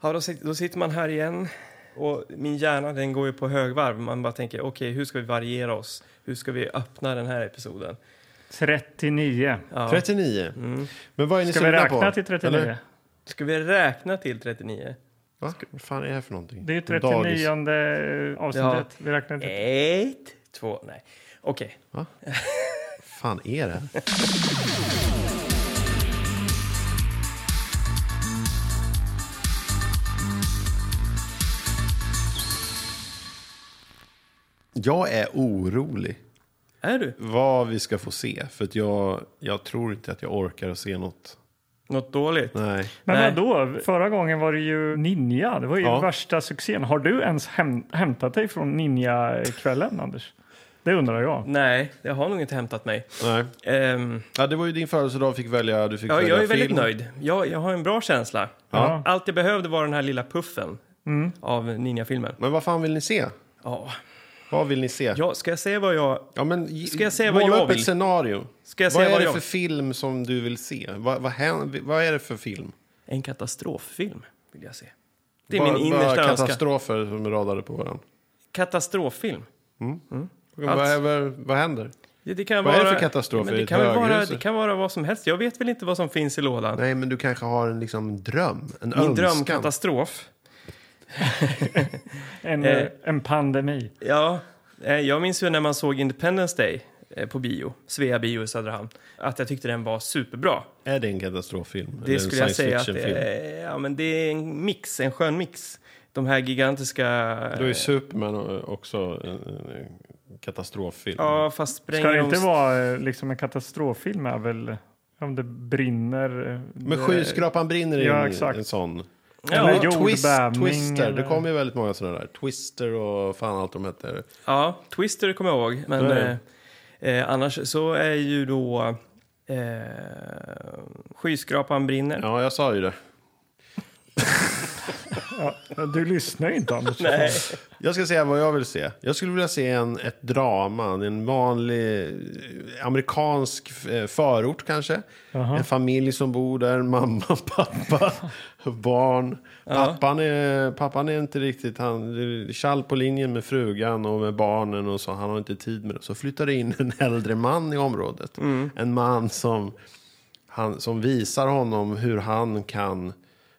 Ja, då, sit- då sitter man här igen och min hjärna den går ju på högvarv. Man bara tänker, okej, hur ska vi variera oss? Hur ska vi öppna den här episoden? 39. Ja. Mm. 39. Men vad är ni Ska vi sugna på? räkna till 39? Eller? Ska vi räkna till 39? Va? Vad fan är det här för någonting? Det är ju Dagis. 39 avsnittet. Vi räknar Eh, inte. Ett, två, nej. Okej. fan är det? Jag är orolig Är du? vad vi ska få se. För att jag, jag tror inte att jag orkar att se något. Något dåligt? Nej. Nej. Men vadå? Förra gången var det ju Ninja. Det var ju Ja. värsta succén. Har du ens häm hämtat dig från Ninja-kvällen, Anders? Det undrar jag. Nej, jag har nog inte hämtat mig. Nej. Ehm, Ja, det var ju din födelsedag, fick välja, du fick ja, välja jag är väldigt film. nöjd. Jag, jag har en bra känsla. Ja. Allt jag behövde var den här lilla puffen Mm. av ninjafilmen. Men vad fan vill ni se? Ja. Vad vill ni se? Ja, ska jag säga vad jag... Ja, men, Ska jag säga vad måla jag upp vill? ett scenario. Ska jag vad säga är vad det jag- för film som du vill se? Vad, vad, hän- vad är det för film? En katastroffilm vill jag se. Det är Bara- min bara innersta önskan. katastrofer som är radade på varandra. Katastroffilm. Vad, vad, vad händer? Det, det kan Vad är det vara, för katastrof? Men Är det det, ett kan väl vara, höghus? det kan vara vad som helst. Jag vet väl inte vad som finns i lådan. Nej, men du kanske har en liksom, dröm, en Min önskan. drömkatastrof. En, Eh. en pandemi. Ja, eh, jag minns ju när man såg Independence Day eh, på bio, Svea bio i Söderhamn, att jag tyckte den var superbra. Är det en katastroffilm? Eller Det en skulle jag science säga att det fiction-film? är, ja, men det är en mix, en skön mix. De här gigantiska... Då är Superman eh, också en, en katastroffilm. Ja, fast Ska spränger det de- inte vara eh, liksom en katastroffilm? Är väl om det brinner? eh, Men det- skyskrapan brinner i Ja, en, exakt. en sån. Ja, Eller- jordbävning Twister. eller- Det kom ju väldigt många sådana där. Twister och fan allt de heter. ja, Twister kommer jag ihåg. Men Där. eh, eh, annars så är ju då... Eh, skyskrapan brinner. Ja, jag sa ju det. Ja, du lyssnar ju inte, Anders. Nej. Jag ska säga vad jag vill se. Jag skulle vilja se en, ett drama, en vanlig eh, amerikansk eh, förort kanske. En familj som bor där, mamma, pappa, barn. Pappan, är, pappan är inte riktigt, han det är tjall på linjen med frugan och med barnen och så. Han har inte tid med det. Så flyttar det in en äldre man i området. En man som, han, som visar honom hur han kan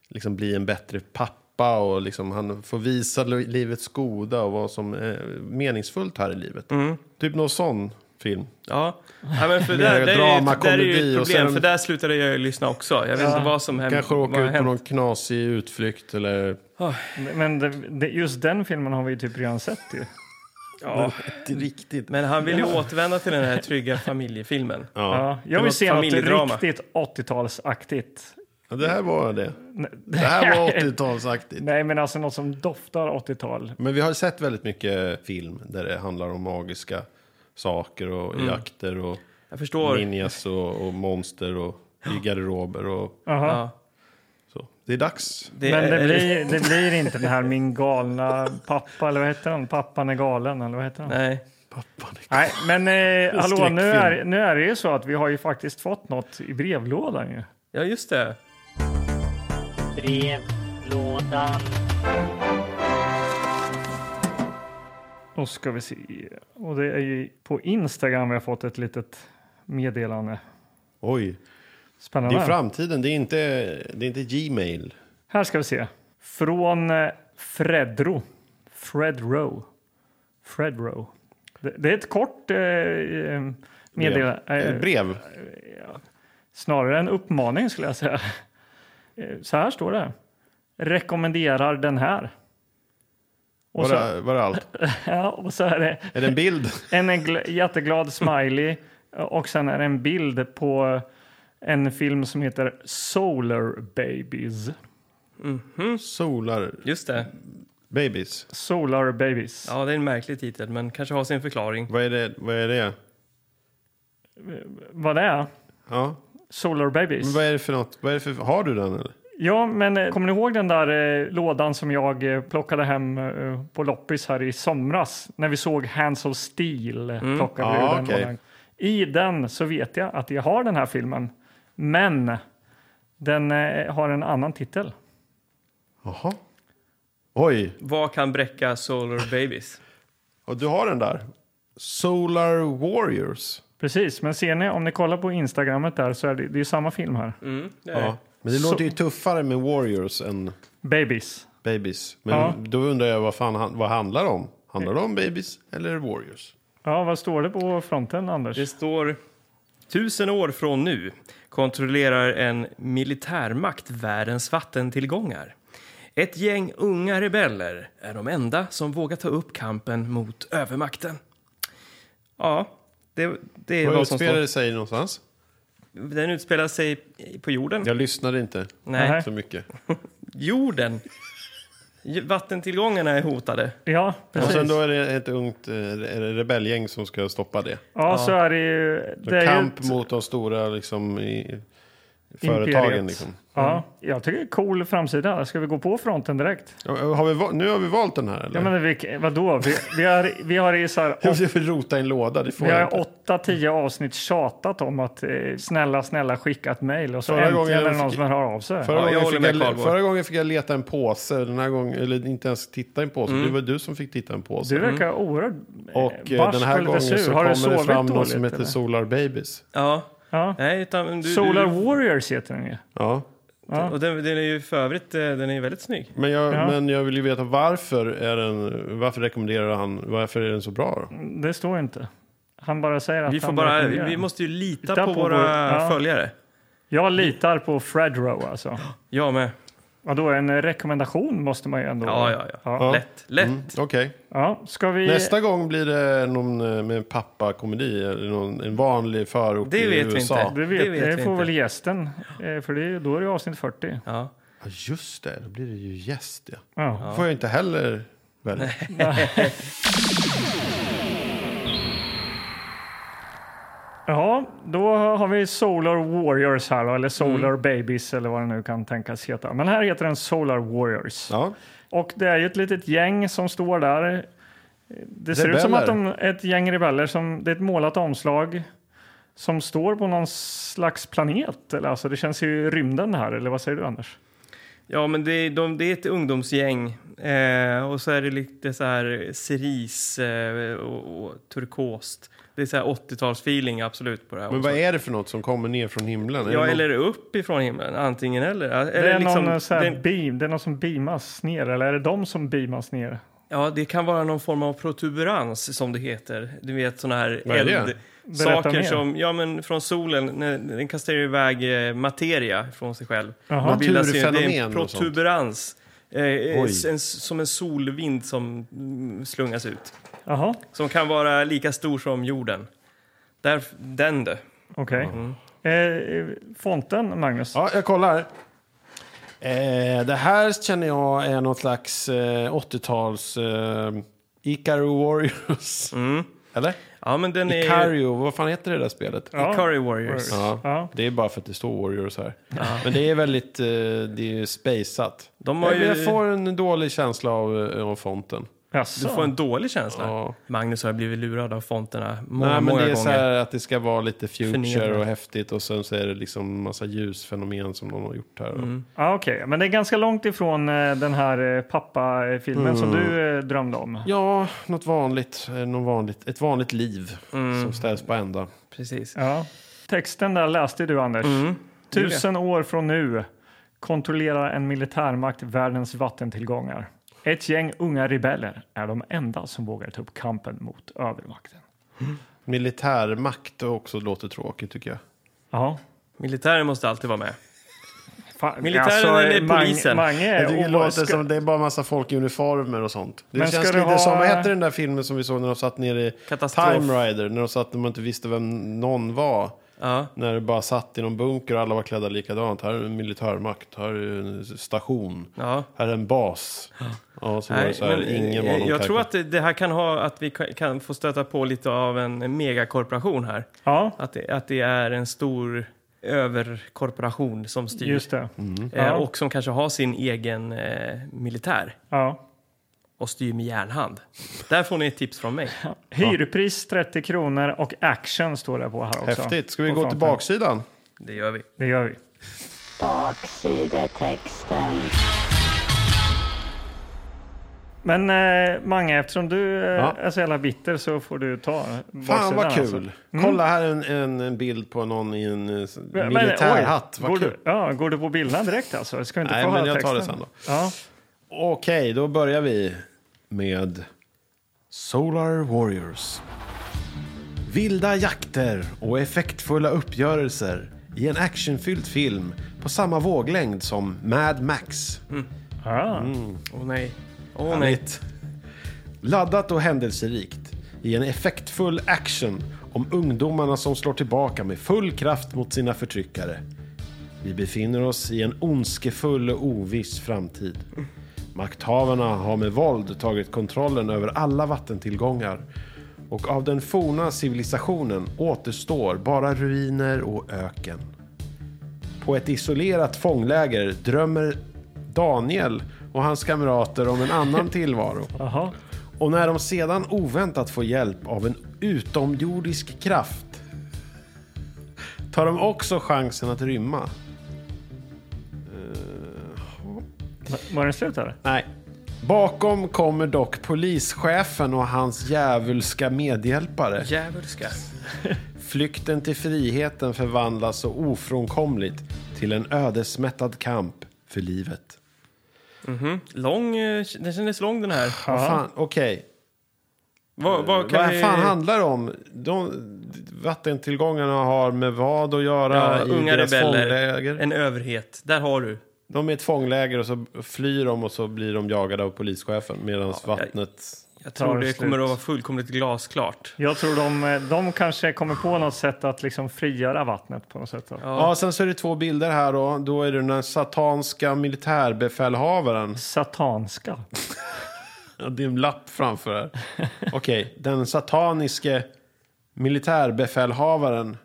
liksom bli en bättre pappa och liksom han får visa li- livets goda och vad som är meningsfullt här i livet. Mm. Typ någon sån film. Ja, ja men för Mer där, där, är, ju- drama, där är ju komedi ett och problem, sen- för där slutade jag ju lyssna också. Jag vet inte vad som händer. Kanske åka ut på någon knasig utflykt eller... Men det, det, just den filmen har vi ju typ redan sett. Ju. Ja, Riktigt. men han vill ju återvända till den här trygga familjefilmen. Ja. Ja. Det Jag var vill se något familjedrama. riktigt 80-talsaktigt. ja, det här var det. Det här var 80-talsaktigt. Nej, men alltså något som doftar 80-tal. Men vi har sett väldigt mycket film där det handlar om magiska saker och Mm. jakter och Jag förstår. ninjas och, och monster och i garderober och Aha. Ja, så. Det är dags. det Men det är- blir, det blir inte den här min galna pappa, eller vad heter han? Pappan är galen, eller vad heter han? Nej, Nej. Pappan är men eh, hallå, skräckfilm. nu är, nu är det ju så att vi har ju faktiskt fått något i brevlådan ju. Ja, just det. Brevlådan. Och ska vi se. Och det är ju på Instagram vi har fått ett litet meddelande. Oj. Det Spännande. är framtiden, det är inte, det är inte Gmail. Här ska vi se. Från eh, Fredro. Fredro. Fredro. Det, det är ett kort eh, eh, meddelande. Eh, eh, Brev. Snarare en uppmaning skulle jag säga. Eh, Så här står det. Rekommenderar den här. Och Var, så, det, var det allt? ja, och så är det Är det en bild? en gl- jätteglad smiley eh, och sen är det en bild på en film som heter Solar Babies. Solar Just det. babies. Solar Babies. Ja, det är en märklig titel, men kanske har sin förklaring. Vad är det? Vad är det? Vad det är? Ja. Solar Men Babies. vad är det för något? Vad är det för, har du den eller? Ja, men eh, kommer ni ihåg den där eh, lådan som jag eh, plockade hem eh, på loppis här i somras? När vi såg Hands of Steel mm. plockade vi ur Ja, den okej. lådan. I den så vet jag att jag har den här filmen, men den eh, har en annan titel. Jaha. Oj, Vad kan bräcka Solar Babies? och du har den där. Solar Warriors. Precis, men ser ni, om ni kollar på Instagrammet där så är det, det är ju samma film här. Mm, det är Eh, Ja. Men det Så- låter ju tuffare med Warriors än Babies. Babies. Men Ja. då undrar jag vad, fan, han- vad handlar det om? Handlar det om Babies eller Warriors? Ja, vad står det på fronten, Anders? Det står tusen år från nu kontrollerar en militärmakt världens vattentillgångar. Ett gäng unga rebeller är de enda som vågar ta upp kampen mot övermakten. Ja, det, det är Vad vad som utspelar står. det sig någonstans? Den utspelar sig på jorden. Jag lyssnade inte Nej, Nej. så mycket. jorden. J- Vattentillgångarna är hotade. Ja, Och precis. sen då är det ett ungt eh, re- rebellgäng som ska stoppa det. Ja, så är det ju. Det är ju Kamp ett, mot de stora liksom, i, Imperiet. företagen. Liksom. ja, jag tycker det är cool framsida. Ska vi gå på fronten direkt? Ja, eh, Har vi, va- nu har vi valt den här eller? Ja, men vi, vadå? Vi, vi har, vi har i så här, Jag vill rota i en låda, det får vi jag har inte. i åtta, tio avsnitt tjatat om att eh, snälla, snälla skicka ett mejl och så Förra äntligen gången är det någon fick- som hör av sig. Förra, Ja, jag gången håller fick med jag, le- Karlborg. förra gången fick jag leta en påse, den här gången, eller inte ens titta i en påse. Det var du som fick titta i en påse. Mm. Du verkar Mm. oerhört eh, Och eh, barsk den här och gången lite så sur. kommer Har du det sovit fram någon dåligt? som heter eller? Solar Babies. Ja, ja. nej, utan du, Solar du, Warriors heter den ju. Ja. Ja. och den, den är ju för övrigt eh, den är ju väldigt snygg. Men, jag, Ja. men jag vill ju veta varför är den, varför rekommenderar han, varför är den så bra då? Det står inte. Han bara säger att Vi, får han bara, rekommenderar vi den. måste ju lita, Lita på, på våra vår- ja. följare. Jag litar på Fred Rowe alltså. Jag med. Vadå, en rekommendation måste man ju ändå... Ja, ja, ja. Ja. Lätt. Lätt. Mm, Okej. Ja, ska vi... Nästa gång blir det någon eh, med pappakomedi eller någon, en vanlig förort Det i vet vi USA. inte. Det, vet, Det det, vet vi får inte. väl gästen, eh, för det, då är det avsnitt 40. Ja. Ja, just det. Då blir det ju gäst, ja. Ja. får jag inte heller välja. ja, då har vi Solar Warriors här då, eller Solar Babies eller vad det nu kan tänkas heta. Men här heter den Solar Warriors. Ja. Och det är ju ett litet gäng som står där. Det ser ut som att de Rebeller. är ett gäng rebeller. Som, det är ett målat omslag som står på någon slags planet. Eller, alltså, det känns ju i rymden här, eller vad säger du Anders? Ja, men det, är- de, det är ett ungdomsgäng. Eh, och så är det lite så här cerise eh, och, och turkost. Det är så här 80-talsfeeling absolut på det här. Men också. vad är det för något som kommer ner från himlen? Är det Ja, någon- eller uppifrån himlen. Antingen eller. eller det är liksom, eh, någon eh, så här det, beam, det är någon som beamas ner, eller är det de som beamas ner? ja, det kan vara någon form av protuberans som det heter. Du vet sådana här Vad är det? eld... Berätta Saker mer. som, ja men från solen, när- den kastar ju iväg eh, materia från sig själv. Jaha. Då bildas ju- Det är en Naturfenomen och sånt. protuberans. Eh, eh, Oj. s- en, som en solvind som mm, slungas ut. Jaha, Som kan vara lika stor som jorden. Där, den du. okej. Eh, fonten, Magnus? Ja, jag kollar. Eh, det här känner jag är någon slags eh, 80-tals eh, Icaro Warriors. Mm. Eller? Ja men den är... Icario, vad fan heter det där spelet? Ja. Ikari Warriors. Ja. Ja. Det är bara för att det står Warriors här. Men det är väldigt, eh, det är ju spaceat. De har Jag, ju, jag får en dålig känsla av, eh, av fonten. Du Jaså? får en dålig känsla. Ja. Magnus har blivit lurad av fonterna många, Nej, men många det är gånger. så här att det ska vara lite future Förnedrande. och häftigt och sen så är det liksom massa ljusfenomen som de har gjort här. Mm. Ja, Okej, men det är ganska långt ifrån eh, den här eh, pappafilmen som du eh, drömde om. Mm. Ja, något vanligt, eh, något vanligt. Ett vanligt liv Mm. som ställs på ända. Precis. Ja. Texten där läste du, Anders. Mm. Mm. Tusen år från nu kontrollerar en militärmakt världens vattentillgångar. Ett gäng unga rebeller är de enda som vågar ta upp kampen mot övermakten. Militärmakt har också låter tråkigt tycker jag. Ja. Militären måste alltid vara med. Fan, Militären är alltså, eh, Mang- polisen. Mange är Jag tycker det ovan- låter ska- som det är bara massa folk i uniformer och sånt. Det Men känns ska du lite ha- som, vad hette den där filmen som vi såg när de satt nere i Katastrof. Time Rider? När de satt när man inte visste vem någon var. Ja. När det bara satt i någon bunker och alla var klädda likadant. Här är en militärmakt, här är en station, Ja. eh, här är en bas. Ja, så var det så här, eh, ingen var någon jag tror karaktär. att det- det här kan ha att vi ka- kan få stöta på lite av en megakorporation här. Ja, Att det, att det är en stor överkorporation som styr. just det. Mm. Eh, Ja. Och som kanske har sin egen eh, militär Ja. och styr med järnhand. Där får ni ett tips från mig. Hyrpris 30 kronor och action står det på här också. Häftigt. Ska vi På gå till fronten. baksidan? Det gör vi. Det gör vi. Baksidetexten. Men eh, Mange, eftersom du eh, Ja. är så jävla bitter så får du ta baksidan, Fan vad alltså. kul! Kolla här en, en, en bild på någon i en eh, Men, oj, militärhatt. Vad går kul. Du, ja, går du på bilden direkt alltså? Ska vi inte Nej, få men höra jag tar det texten? sen Ja. Okej, då börjar vi med Solar Warriors. Vilda jakter och effektfulla uppgörelser i en actionfylld film på samma våglängd som Mad Max. Ah. Mm. Åh nej. Åh nej. Härligt. Laddat och händelserikt i en effektfull action om ungdomarna som slår tillbaka med full kraft mot sina förtryckare. Vi befinner oss i en ondskefull och oviss framtid. Makthavarna har med våld tagit kontrollen över alla vattentillgångar och av den forna civilisationen återstår bara ruiner och öken. På ett isolerat fångläger drömmer Daniel och hans kamrater om en annan tillvaro. Aha. Och när de sedan oväntat får hjälp av en utomjordisk kraft tar de också chansen att rymma. Var den slut där? Nej. Bakom kommer dock polischefen och hans djävulska medhjälpare. Djävulska. Flykten till friheten förvandlas så ofrånkomligt till en ödesmättad kamp för livet. Lång, eh, den kändes lång den här. Vad fan, okej. Vad, vad kan Vad vi... fan handlar det om? De, vattentillgångarna har med vad att göra Ja, i unga deras rebeller, fångläger? en överhet. Där har du. De är i ett fångläger och så flyr de och så blir de jagade av polischefen medan vattnet... Jag Tar tror det slut. kommer att vara fullkomligt glasklart. Jag tror de, eh, de kanske kommer på något sätt att liksom frigöra vattnet på något sätt. då. Ja. sen så är det två bilder här då. Då är det den här satanska militärbefälhavaren. Satanska. Ja, Det är en lapp framför här. Okej, den sataniske militärbefälhavaren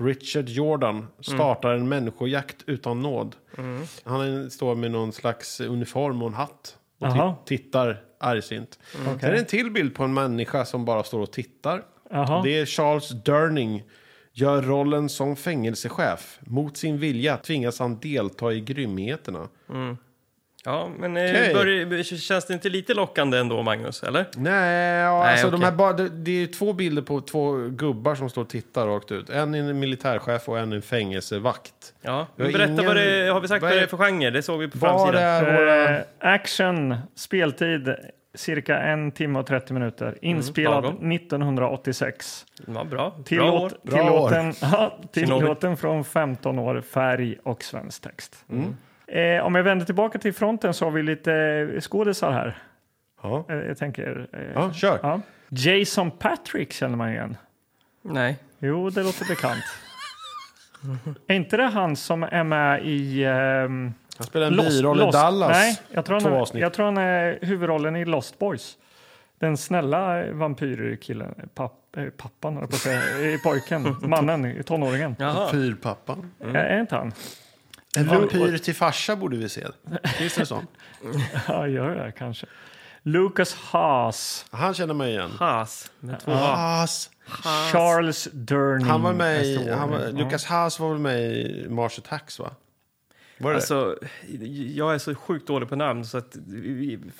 Richard Jordan startar Mm. en människojakt utan nåd. Han står med någon slags uniform och en hatt och Jaha. Mm. ti- tittar argsint. Sen är det en till bild på en människa som bara står och tittar. Jaha. Det är Charles Durning. Gör rollen som fängelsechef. Mot sin vilja tvingas han delta i grymheterna. Ja, men eh, Okej. bör, känns det inte lite lockande ändå, Magnus? Eller? Nej, ja, Nej, alltså okej. de här bara, det, det är två bilder på två gubbar som står och tittar rakt ut. En är en militärchef och en är en fängelsevakt. Ja. Jag har Men berätta, ingen- vad det, har vi sagt vad vad det är- är för genre? Det såg vi på Var framsidan. är våra... Eh, action, speltid cirka en timme och 30 minuter. Inspelad lagom. 1986. Ja, bra. bra år. Tillåt, Bra år. tillåten, ja, tillåten från 15 år, färg och svensk text. Mm. Eh, om jag vänder tillbaka till fronten så har vi lite eh, skådisar här. Ja. Eh, jag tänker... Eh, ja, kör. ja. Jason Patrick känner man igen. Nej. Jo, det låter bekant. Är inte det han som är med i... ehm, Han spelar en Lost- biroll i Lost- Dallas. Nej, jag tror, han Två är, avsnitt. jag tror han är huvudrollen i Lost Boys. Den snälla vampyrkillen, papp, eh, pappan höll jag på att säga, eh, pojken, mannen, tonåringen. Jaha. Vampyrpappan. Är- Är inte han? En vampyr till farsa borde vi se. Finns det sån? Ja, gör jag kanske. Lucas Haas, Han känner mig igen. Haas. Med två A. Haas. Charles Durning. Han var med i... nästa år. Mm. Han var, Lucas Haas var väl med i Mars Attacks, va? Var det det? Alltså, jag är så sjukt dålig på namn så att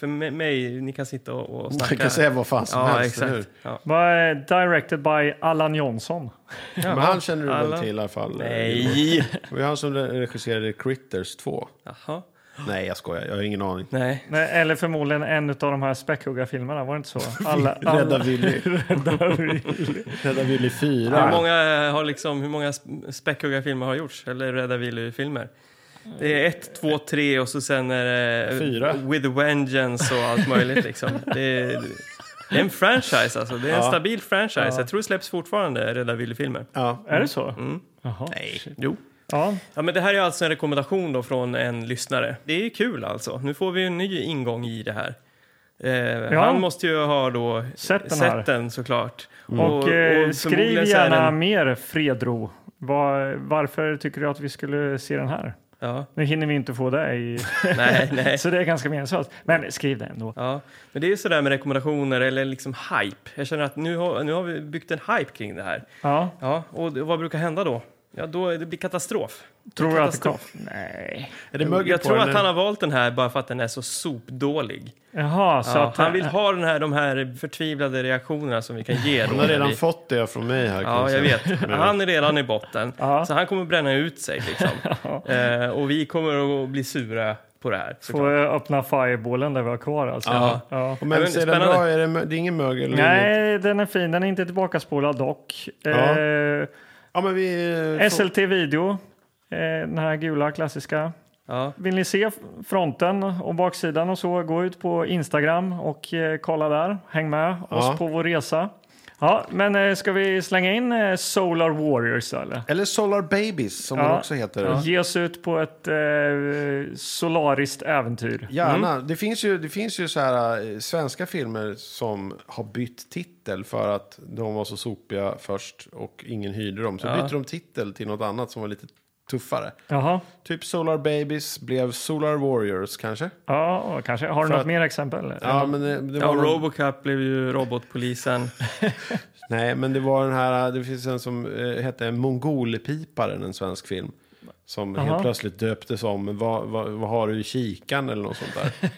för mig, ni kan sitta och, och snacka. Man kan säga vad fan som ja, helst, eller exakt. hur? Ja. Var eh, directed by Allan Jonsson. Men han känner du Alla- väl till i alla fall? eh, Nej! Det var ju han som regisserade Critters 2. Jaha. Nej, jag skojar. Jag har ingen aning. Nej. Nej, Eller förmodligen en av de här späckhuggarfilmerna, var det inte så? Alla, Rädda alla, Willy. Rädda Willy 4. Hur många, har liksom, hur många sp- späckhuggarfilmer har gjorts? Eller Rädda Willy-filmer? Det är ett, två, tre och så sen är det Fyra. With a Vengeance och allt möjligt. Liksom. Det, är, det är en franchise alltså. Det är en Ja. stabil franchise. Jag tror det släpps fortfarande Rädda Willy-filmer. Ja. är det så? Mm. Jaha. Jo. Ja, Ja, men det här är alltså en rekommendation då från en lyssnare. Det är kul alltså. Nu får vi ju en ny ingång i det här. Eh, Han måste ju ha då Sett den här. sett den såklart. Och, eh, skriv förmodligen så är gärna Den, mer, Fredro. Var, varför tycker du att vi skulle se den här? ja, Nu hinner vi inte få det i... nej, nej. så det är ganska meningslöst. Men skriv det ändå. Ja, men det är ju sådär med rekommendationer eller liksom hype. Jag känner att nu har, nu har vi byggt en hype kring det här. Ja. Ja, och det- vad brukar hända då? Ja, då är det blir katastrof. Tror du att det kom? Katastrof. Nej. Är det mögel Jag på tror den? att han har valt den här bara för att den är så sopdålig. Jaha, så Ja, att han vill ha den här, de här förtvivlade reaktionerna som vi kan ge. Han då har när redan vi... fått det liksom. från mig här. kan Ja, jag säga. vet. Han är redan i botten, Ja. så han kommer bränna ut sig. Liksom. eh, och vi kommer att bli sura på det här. såklart. Får jag öppna fireballen där vi har kvar alltså? Ja. Ja. Och Ja, Men men är den spännande. bra? Är det, mö- det är ingen mögel? eller inget? Nej, den är fin. Den är inte tillbakaspolad dock. Ja. Eh, Ja, men vi... eh, får- SLT Video, eh, den här gula klassiska. Ja. Vill ni se fronten och baksidan och så, gå ut på Instagram och eh, kolla där. Häng med Ja. oss på vår resa. Ja, men eh, ska vi slänga in eh, Solar Warriors eller? Eller Solar Babies, som Ja. den också heter. Ge oss ut på ett eh, solariskt äventyr. Gärna. Mm. Det, finns ju, det finns ju så här eh, svenska filmer som har bytt titel för att de var så sopiga först och ingen hyrde dem. Så Ja. bytte de titel till något annat som var lite tuffare. Jaha, Typ Solar Babies blev Solar Warriors kanske? ja, kanske. Har du något att- mer exempel? Ja, men det, det Ja, var någon- Robocop blev ju robotpolisen. Nej, men det var den här, det finns en som eh, hette Mongolpiparen, en svensk film. Som Jaha. helt plötsligt döptes om, vad, vad, vad har du i kikan eller något sånt där.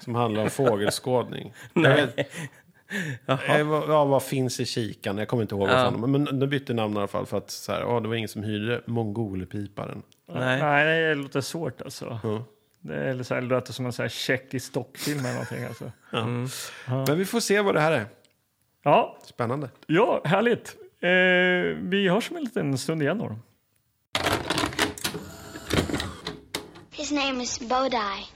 som handlar om fågelskådning. Jag vet, eh, vad, ja, vad finns i kikan? Jag kommer inte ihåg vad Ja. fan, men- men de bytte namn i alla fall för att så här, ja, det var ingen som hyrde Mongolpiparen. Nej. Nej, det låter svårt alltså. Ja. Det är så här, det låter som en så här tjeckisk stockfilm eller någonting. Alltså. Men vi får se vad det här är. Ja, Spännande. ja, härligt. Eh, vi hörs om en liten stund igen då. His name is Bodai.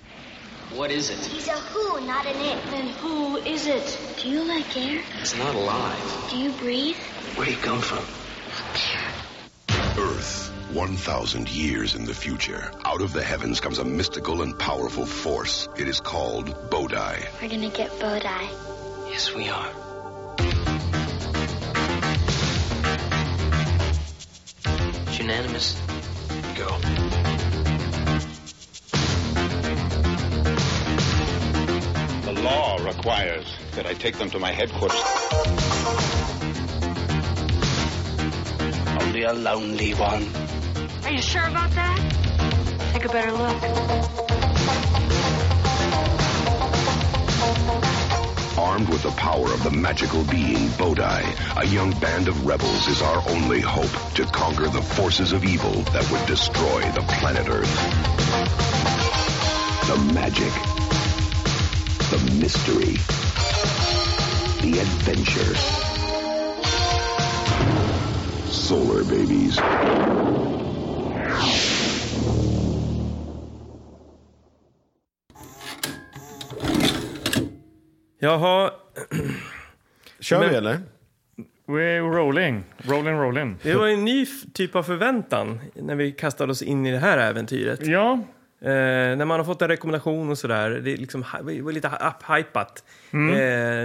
What is it? He's a who, not an it. Then who is it? Do you like air? It's not alive. Do you breathe? Where do you come from? Earth, 1,000 years in the future. Out of the heavens comes a mystical and powerful force. It is called Bodai. We're gonna get Bodai. Yes, we are. It's unanimous. Go. The law requires that I take them to my headquarters. Only a lonely one. Are you sure about that? Take a better look. Armed with the power of the magical being Bodai, a young band of rebels is our only hope to conquer the forces of evil that would destroy the planet Earth. The magic, the mystery, the adventure. Solar babies. Jaha, Kör Men- vi eller? We're rolling, rolling, rolling. det var ju en ny f- typ av förväntan när vi kastade oss in i det här äventyret. Ja, Eh, när man har fått en rekommendation och sådär, det är liksom hy- det var lite upphypat. Eh,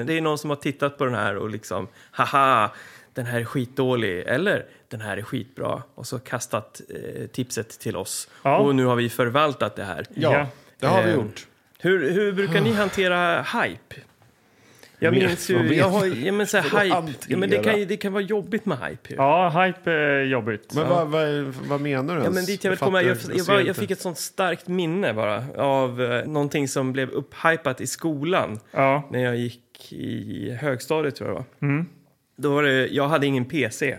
det är någon som har tittat på den här och liksom, haha, den här är skitdålig, eller den här är skitbra. Och så kastat eh, tipset till oss. Ja. Och nu har vi förvaltat det här. Ja, Ja. det har vi Eh, gjort. Hur, hur brukar ni hantera hype? Jag Men- minns vad ju, menar jag har, du? ja, men så Vadå här, hype, ja, men det, hantera? kan, ju- det kan vara jobbigt med hype ju. ja hype är jobbigt. Men vad, vad, vad menar du Ja, ens? men dit jag vill fattar- komma, jag, jag, ser var, jag inte. fick ett sånt starkt minne bara av eh, någonting som blev upphypat i skolan Ja, när jag gick i högstadiet tror jag det var. Då var det, jag hade ingen PC,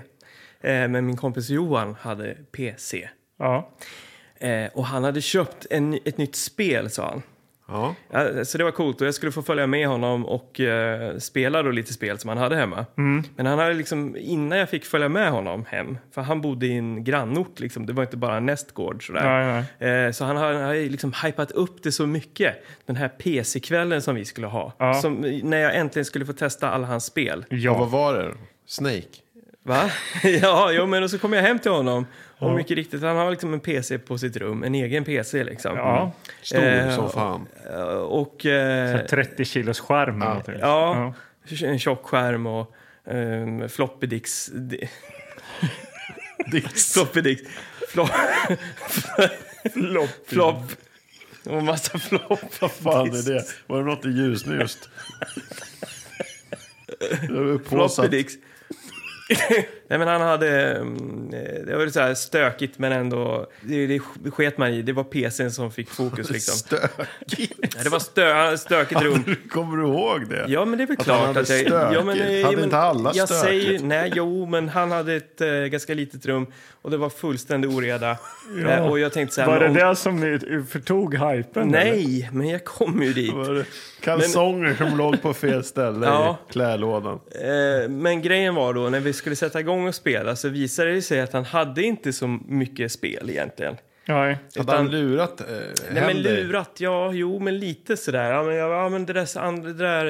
eh, men min kompis Johan hade PC. ja. Eh, och han hade köpt en, ett nytt spel sa han. Ja. Ja, så det var coolt och jag skulle få följa med honom och eh, spela då lite spel som han hade hemma. Mm. Men han hade liksom, innan jag fick följa med honom hem, för han bodde i en grannort liksom, det var inte bara en nästgård sådär. Nej, Eh, så han har, han har ju liksom hypat upp det så mycket, den här PC-kvällen som vi skulle ha. Ja. Som, när jag äntligen skulle få testa alla hans spel. Och vad var det? Snake? Va? ja, jo, men och så kom jag hem till honom och mycket riktigt, han har liksom en PC på sitt rum, en egen PC liksom. ja. Stor Eh, som fan. Eh, Och... eh, 30 kilos skärm. eller någonting. Ja, en tjock skärm och um, floppy dicks. di- floppy dicks. Flop, flopp. flopp. Och massa flopp. Vad fan är det? Var det något i ljus nu just? Det var upphaussat. Floppy dicks. Nej, men han hade... mm, eh, Det var så här stökigt, men ändå... Det, det sket man i. Det var PCn som fick fokus. Liksom. Stökigt. Ja, Det var stö, stökigt runt. Kommer du ihåg det? Ja, men det är väl Att han klart hade att jag... stökigt. Ja, men, eh, Hade ja, men, inte alla liksom? jag stökigt? säger, nej, jo, men han hade ett eh, ganska litet rum och det var fullständig oreda. Eh, och jag tänkte så här... Var det men om, det som ni förtog hypen? eller? nej, men jag kom ju dit. Var det Kalsonger som låg på fel ställe Ja. i klälådan. Eh, men grejen var då, när vi skulle sätta igång och spela så visade det sig att han hade inte så mycket spel egentligen. Nej. Hade han lurat eh, Nej, men hem dig? lurat, ja, jo, men lite sådär. Ja, men, jag, ja, men det där, s- andra- det där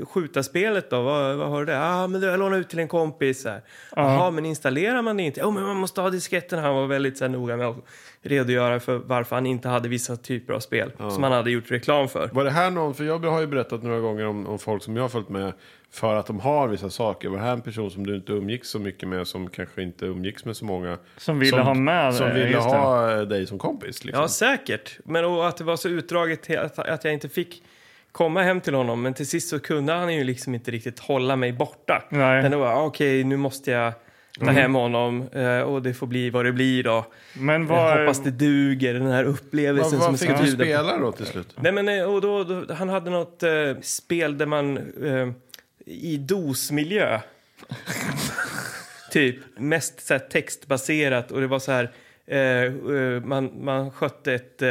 eh, skjutarspelet då, vad, vad har du det? Ja, men det- jag lånade ut till en kompis. Så här. Jaha, men installerar man det inte? Jo, men man måste ha disketten. Han var väldigt så här, noga med att redogöra för varför han inte hade vissa typer av spel som han hade gjort reklam för. Var det här någon, för jag har ju berättat några gånger om, om folk som jag har följt med för att de har vissa saker. Var det här en person som du inte umgicks så mycket med, som kanske inte umgicks med så många? Som ville ha med Som dig, ville just det. ha dig som kompis. Liksom. Ja, säkert. Men och att det var så utdraget till att, att jag inte fick komma hem till honom. Men till sist så kunde han ju liksom inte riktigt hålla mig borta. Nej. Men det var, "Ah, okej, nu måste jag ta hem honom eh, och det får bli vad det blir då. Men Jag vad... hoppas det duger, den här Vad- upplevelsen som vad jag fick ska du bjuda på. spela då till slut? Nej, men, eh, och då, då, han hade något eh, spel där man eh, i dosmiljö typ mest så här, textbaserat och det var så här eh, eh, man, man skötte ett eh,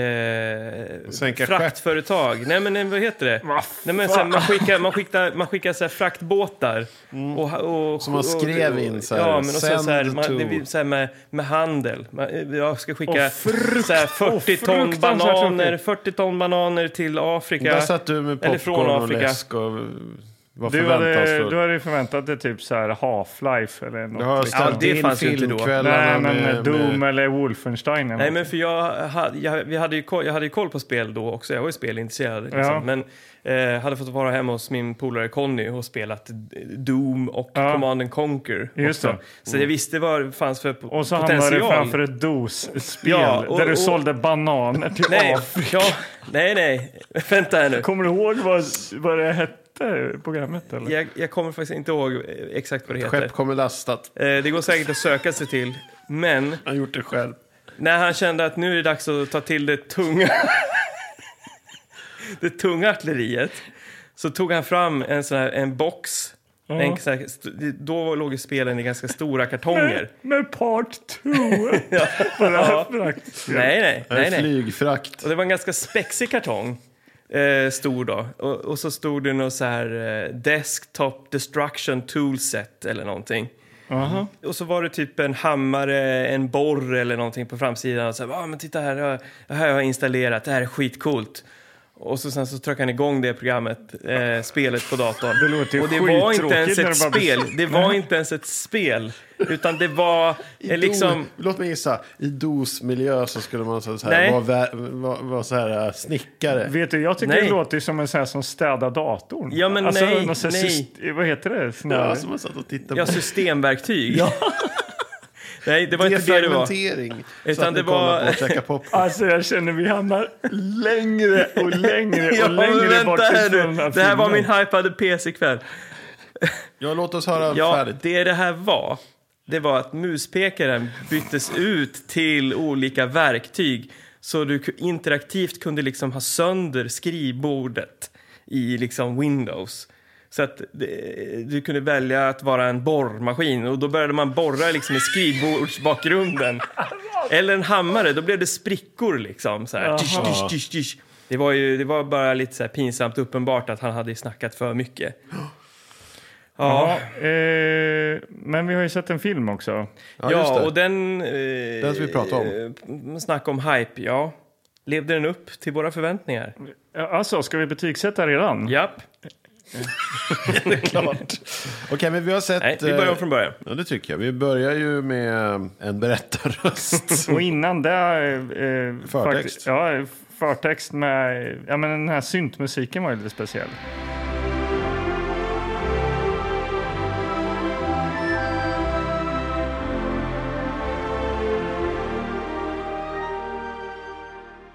eh, Sänka fraktföretag. Nej men eh, vad heter det? Nej, men, så här, man skickar, man skickar, man skickar så här, fraktbåtar. Och, och, Som man skrev in så här, Ja, men och sen, så här, send man, to. det, blir så här med, med handel. Man, eh, jag ska skicka Och frukt- så här, och 40 ton fruktansvärt bananer, tråkigt. 40 ton bananer till Afrika. Där satt du med Eller från popcorn och Afrika. läsk och eh, vad Du förväntas hade, för? du hade ju förväntat dig typ så här Half-Life eller något. Jag har liksom. Ja, ställt det in fanns ju inte då. filmkvällarna Nej, men med, Doom med eller Wolfenstein. Eller Nej, något. men för jag, hade- jag, vi hade ju koll, jag hade ju koll på spel då också. Jag var ju spelintresserad. Liksom. Ja. Men eh, hade fått vara hemma hos min polare Conny och spelat eh, Doom och Ja. Command and Conquer. Just också. det. Så jag visste vad det fanns för po- och så hamnade du potential. framför ett DOS-spel Ja, och- där du och- sålde bananer till Nej, Afrika. ja, nej, nej. Vänta här nu. Kommer du ihåg vad, vad det hette programmet? Eller? Jag, jag kommer faktiskt inte ihåg eh, exakt vad det heter. Skepp kommer lastat. Eh, det går säkert att söka sig till. Men Han gjort det själv. när han kände att nu är det dags att ta till det tunga, det tunga artilleriet så tog han fram en sån här en box. En sån här, st- då låg ju spelen i ganska stora kartonger. Med Part 2! Var det Ja. här praktiskt? Nej, nej, nej, nej. Flygfrakt. Och det var en ganska spexig kartong. Eh, stor då. Och, och så stod det något så här eh, Desktop Destruction Toolset eller någonting. Jaha. Och så var det typ en hammare, en borr eller någonting på framsidan. Och så här, ah, men titta här, det här- det här har jag installerat, det här är skitcoolt. Och så sen så tryckte han igång det programmet, eh, spelet på datorn. Det låter ju och det var inte ens skittråkigt när ett det bara blir- spel, det var inte ens ett spel. Utan det var eh, liksom... Låt mig gissa. I DOS-miljö så skulle man så så här, Nej. vara, vä- vara, vara så här eh, snickare. Vet du, jag tycker Nej. det låter ju som en sån här som städar datorn. Ja, men alltså, nej, någon sån här nej. syst- vad heter det? Sån Ja, där- som man satt och tittade Ja, på. systemverktyg. Nej, det var inte det det var. Defragmentering. så Utan att det ni kollar var- på och käkar popcorn. Alltså jag känner vi hamnar längre och längre och Ja, men längre bort vänta här ifrån den nu. Det här var min filmen. hypade PC-kväll. Ja, låt oss höra Ja, färdigt. det det här var, det var att muspekaren byttes ut till olika verktyg så du ku- interaktivt kunde liksom ha sönder skrivbordet i liksom Windows. Så att det- du kunde välja att vara en borrmaskin och då började man borra liksom i skrivbordsbakgrunden. Eller en hammare, då blev det sprickor liksom. Så här. Tisch, tisch, tisch, tisch. Det var ju det var bara lite så här pinsamt uppenbart att han hade ju snackat för mycket. ja. Ja, eh, men vi har ju sett en film också. Ja, just Ja, det. och den... Eh, Den som vi pratade om. Snack om hype, ja. Levde den upp till våra förväntningar? Mm. Ja, Alltså, ska vi betygsätta redan? Japp. Klart. Okej, men vi har sett... Nej, vi börjar eh, om från början. Ja, det tycker jag. Vi börjar ju med eh, en berättarröst. Och innan det... eh, Eh, Förtext. fakti- Ja, förtext med... Ja, men den här syntmusiken var ju lite speciell.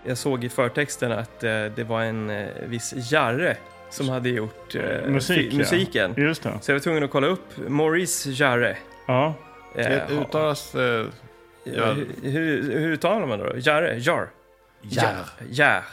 Jag såg i förtexten att eh, det var en eh, viss Jarre som hade gjort eh, fi- Musik, ja. musiken. Just det. Så jag var tvungen att kolla upp Maurice Jarre. Ja. Det Eh, uttalas... Eh, ja, hur, hur, hur uttalar man det då? Jarre? Jar? Jarre. Jarre.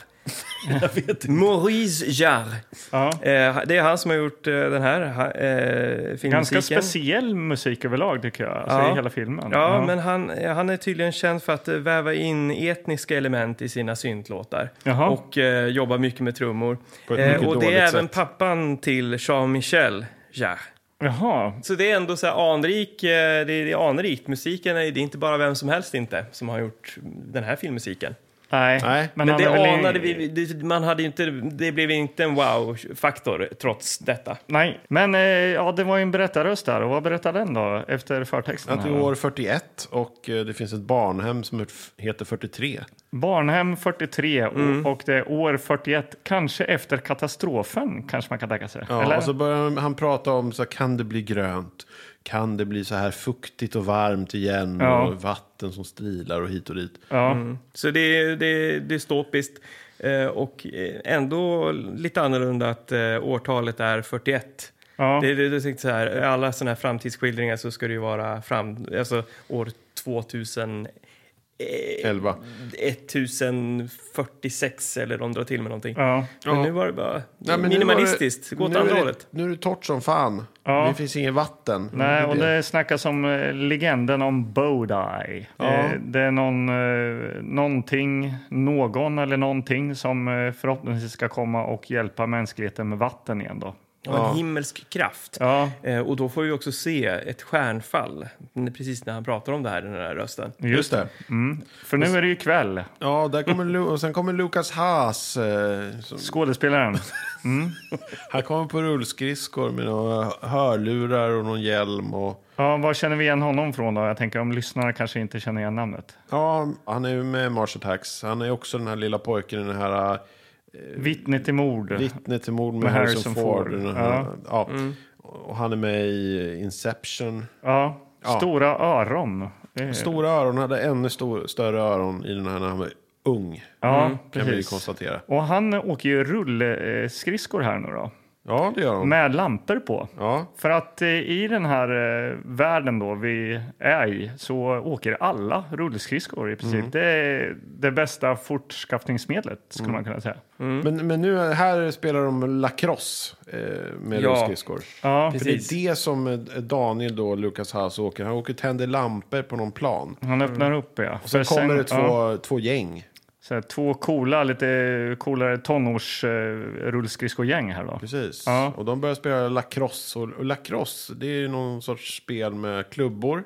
Maurice Jarre. ja. Eh, det är han som har gjort eh, den här eh, filmmusiken. Ganska speciell musik överlag tycker jag, alltså, Ja. i hela filmen. Ja, men han, eh, han är tydligen känd för att eh, väva in etniska element i sina syntlåtar. Jaha. Och eh, jobbar mycket med trummor. På ett Eh, mycket och det dåligt är även sätt. pappan till Jean-Michel Jarre. Jaha, Så det är ändå så här anrik, eh, det är, det är anrikt. Musiken är, det är inte bara vem som helst inte som har gjort den här filmmusiken. nej. Nej, Men han det är väl i- anade vi, det, man hade ju inte, det blev inte en wow-faktor trots detta. Nej, men eh, ja, det var ju en berättarröst där. Och vad berättar den då, efter förtexten? att det är här? år 41 och eh, det finns ett barnhem som heter 43. Barnhem 43 och, och det är år 41, kanske efter katastrofen, kanske man kan tänka sig. Ja, alltså- Eller? och så börjar han prata om så här, kan det bli grönt? Kan det bli så här fuktigt och varmt igen? Ja. Och vatten som strilar och hit och dit. ja. Så det är, det är dystopiskt eh, och eh, ändå lite annorlunda att eh, årtalet är 41. Ja. Det, det, det är säkert så här, i alla sådana här framtidsskildringar så ska det ju vara fram, alltså år 2000 eh, Elva. 1046 eller de drar till med någonting. Ja. Men nu var det bara minimalistiskt, gå åt nu är andra det- hållet. Nu är det torrt som fan. Ja. Det finns inget vatten. Nej, och det snackas om eh, legenden om Bodai. Eh, det är någon, eh, någonting, någon eller någonting som eh, förhoppningsvis ska komma och hjälpa mänskligheten med vatten igen då. Och en himmelsk kraft. Ja, Eh, och då får vi också se ett stjärnfall n- precis när han pratar om det här, den här rösten. Just det. för nu är det ju kväll. Ja, där kommer Lu- och sen kommer Lukas Haas. Eh, som, Skådespelaren. han kommer på rullskridskor med några hörlurar och någon hjälm. Och, Ja, var känner vi igen honom från då? Jag tänker om lyssnarna kanske inte känner igen namnet. ja, han är ju med i Mars Attacks. Han är också den här lilla pojken i den här... eh, Vittne till mord. Vittne till mord med, Med Harrison Harrison Ford. Ford. Den här, ja. Och han är med i Inception. Ja, Ja. Mm, stora öron. Eh, Stora öron, hade ännu stor, större öron i den här när han var ung. Ja, Kan vi ju precis. konstatera. Och han åker ju rullskridskor här nu då. Ja, det gör han. Med lampor på. Ja. För att eh, i den här eh, världen då vi är i så åker alla rullskridskor i princip. Mm. Det är det bästa fortskaffningsmedlet skulle Mm. man kunna säga. Men, men nu här spelar de lacrosse eh, med Ja. rullskridskor. Ja, För det är det som eh, Daniel då, Lukas Haas, åker. Han åker och tänder lampor på någon plan. han öppnar upp ja. Och Sen kommer det två, två gäng. så här, två coola, lite coolare tonårs eh, rullskridskogäng här då. Precis. Ja. Och de börjar spela lacrosse. Och, och lacrosse, det är ju någon sorts spel med klubbor.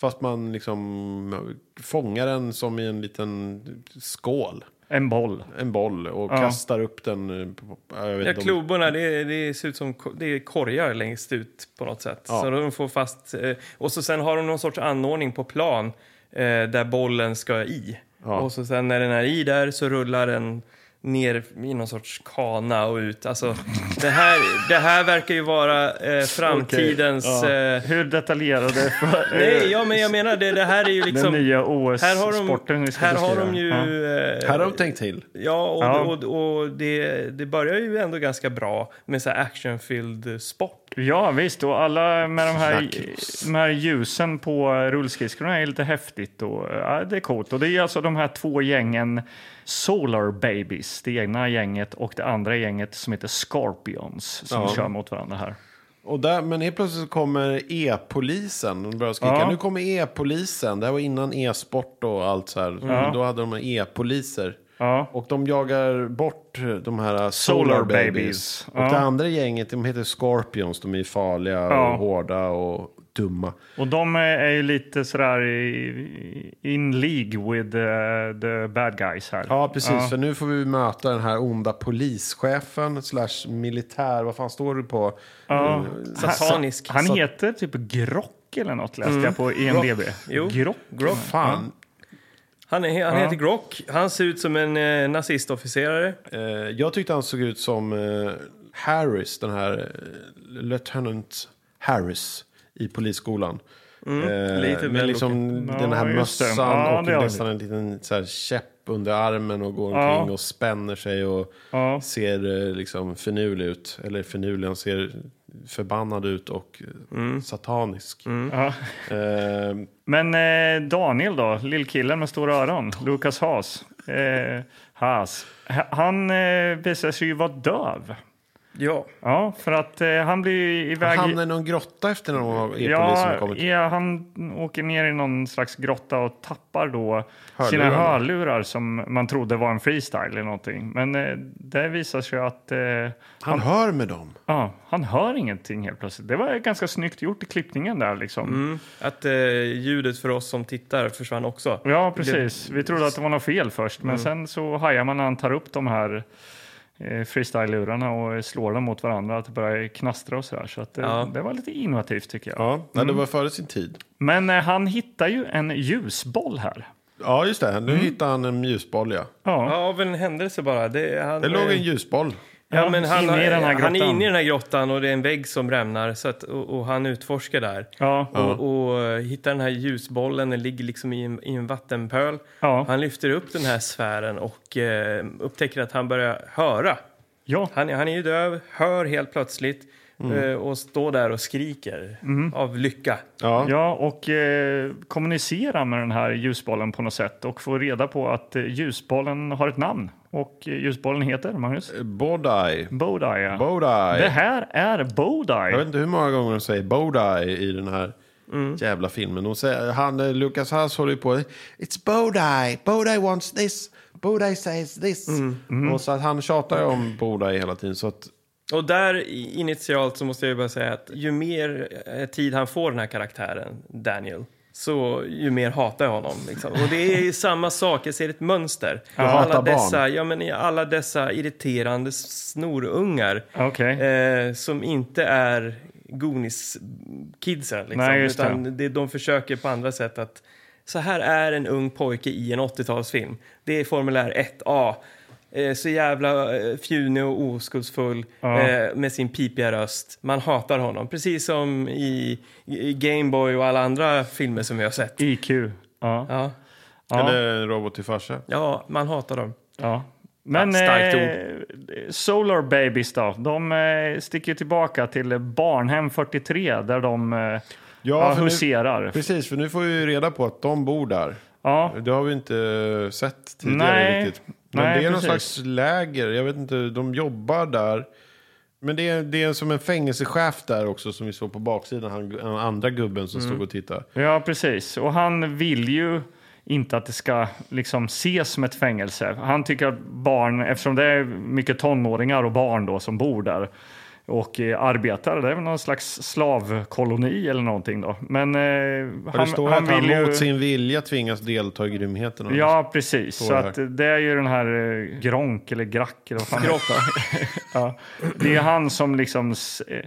Fast man liksom fångar den som i en liten skål. En boll. En boll och kastar upp den. eh, på- på- Jag vet Ja, inte om, klubborna, det, det ser ut som ko- det är korgar längst ut på något sätt. Så de får fast... eh, Och så sen har de någon sorts anordning på plan eh, där bollen ska i. Och så sen när den är i där så rullar den ner i någon sorts kana och ut. Alltså, det här, det här verkar ju vara eh, framtidens... Eh, Hur detaljerade för, nej, ja, men jag menar, det, det här är ju den liksom... nya Här har de, OS-sporten vi ska här har beskriva. de ju... Ja. eh, här har de tänkt till. Ja, och, Ja. och, och det, det börjar ju ändå ganska bra med så här actionfylld sport. Ja, visst. Och alla med de här, Snackis. de här ljusen på rullskridskorna är lite häftigt. Och, ja, det är coolt. Och det är alltså de här två gängen Solar Babies, det ena gänget och det andra gänget som heter Scorpions som Ja. kör mot varandra här. Och där, men helt plötsligt så kommer e-polisen. De börjar skrika. Ja. Nu kommer e-polisen. Det här var innan e-sport och allt så här. Då hade de e-poliser. Ja. Och de jagar bort de här eh, Solar, Solar Babies. Babies. Och Ja. det andra gänget, de heter Scorpions. De är farliga Ja. och hårda och dumma. Och de är är ju lite sådär i- in League with eh, the bad guys här. Ja, precis. För nu får vi möta den här onda polischefen slash militär. Vad fan står det på? Ja. Satanisk. Han heter typ Grock eller något läste jag på E IMDB. Jo. Grock. Grock. Fan. Han, är, han heter Grock. Han ser ut som en eh, nazistofficerare. Eh, jag tyckte han såg ut som eh, Harris, den här eh, Lieutenant Harris i polisskolan. Mm, Eh, lite med väl liksom den här Ja, just det. mössan Ja, det har och vi. nästan en liten så här, käpp under armen och går Ja. omkring och spänner sig och Ja. ser eh, liksom finurlig ut. Eller finurlig, han ser förbannad ut och eh, satanisk. Mm. Ja. Eh, Men eh, Daniel då, lillkillen med stora öron, Lukas Haas. Eh, Haas. H- Han eh, visar sig ju vara döv. Ja. Ja, för att eh, han blir ju iväg... han hamnar i någon grotta efter när de har e-polisen har ja, kommit. ja, han åker ner i någon slags grotta och tappar då sina Hörlurar. hörlurar som man trodde var en freestyle eller någonting. Men eh, det visar sig att eh, Han hör med dem. ja, han hör ingenting helt plötsligt. Det var ganska snyggt gjort i klippningen där liksom. Att eh, ljudet för oss som tittar försvann också. Ja, precis. Vi trodde att det var något fel först, men sen så hajar man när han tar upp de här eh, freestyle-lurarna och slår dem mot varandra, att det börjar knastra och sådär. Så att, eh, Ja. det var lite innovativt tycker jag. Ja, nej, det var före sin tid. Men eh, han hittar ju en ljusboll här. Ja, just det. Mm. Nu hittar han en ljusboll, ja. Ja, Ja, av en händelse bara. Det, han, Det låg en eh, ljusboll. ja, men han, inne i den här han är grottan. inne i den här grottan och det är en vägg som rämnar så att, och, och han utforskar där. ja. Och, och eh, hittar den här ljusbollen, den ligger liksom i en, i en vattenpöl. Ja. Han lyfter upp den här sfären och eh, upptäcker att han börjar höra. ja. Han, är- han är ju döv, hör helt plötsligt Mm. eh, och står där och skriker av lycka. Ja. Ja, och eh, kommunicera med den här ljusbollen på något sätt och få reda på att eh, ljusbollen har ett namn. Och eh, ljusbollen heter, Magnus? Bodai. Bodai. ja. Bodai. Det här är Bodai. Jag vet inte hur många gånger de säger Bodai i den här Mm. jävla filmen. De säger, han, eh, Lucas Haas håller ju på. It's Bodai. Bodai wants this. Bodai says this. Mm. Och så att han tjatar ju om Bodai hela tiden. Så att, Och där i- initialt så måste jag ju bara säga att ju mer eh, tid han får den här karaktären, Daniel, så ju mer hatar jag honom. Liksom. Och det är ju samma sak, jag ser ett mönster. hatar alla barn. dessa, ja, men i alla dessa irriterande snorungar Okej. eh, som inte är Goonies-kidsen. Liksom, Nej, just det. utan det. de försöker på andra sätt att så här är en ung pojke i en 80-talsfilm. Det är formulär 1A. Eh, så jävla eh, fjunig och oskuldsfull Ja. eh, med sin pipiga röst. Man hatar honom, precis som i, i Gameboy och alla andra filmer som vi har sett. IQ. Ja. Ja, Ja. Eller robot till farsa. ja man hatar dem. Ja. Men Ja, starkt eh, Solar Babies då, de eh, sticker tillbaka till Barnhem 43 där de eh, ja, för nu- huserar. Precis, för nu får vi ju reda på att de bor där. Ja, Det har vi inte eh, sett tidigare Nej. riktigt. Men Nej, det är någon precis. slags läger. Jag vet inte, de jobbar där. Men det är, det är som en fängelsechef där också som vi såg på baksidan. Han, den andra gubben som Mm. stod och tittade. ja, precis. Och han vill ju inte att det ska liksom ses som ett fängelse. Han tycker att barn, eftersom det är mycket tonåringar och barn då som bor där och eh, arbetar, det är väl någon slags slavkoloni eller någonting då. Men eh, Han, det står att han mot sin vilja tvingas delta i grymheterna. Ja, precis. Så det här. att det är ju den här eh, Gronk eller Grack eller vad fan Grock. heter. ja. Det är han som liksom... s- eh,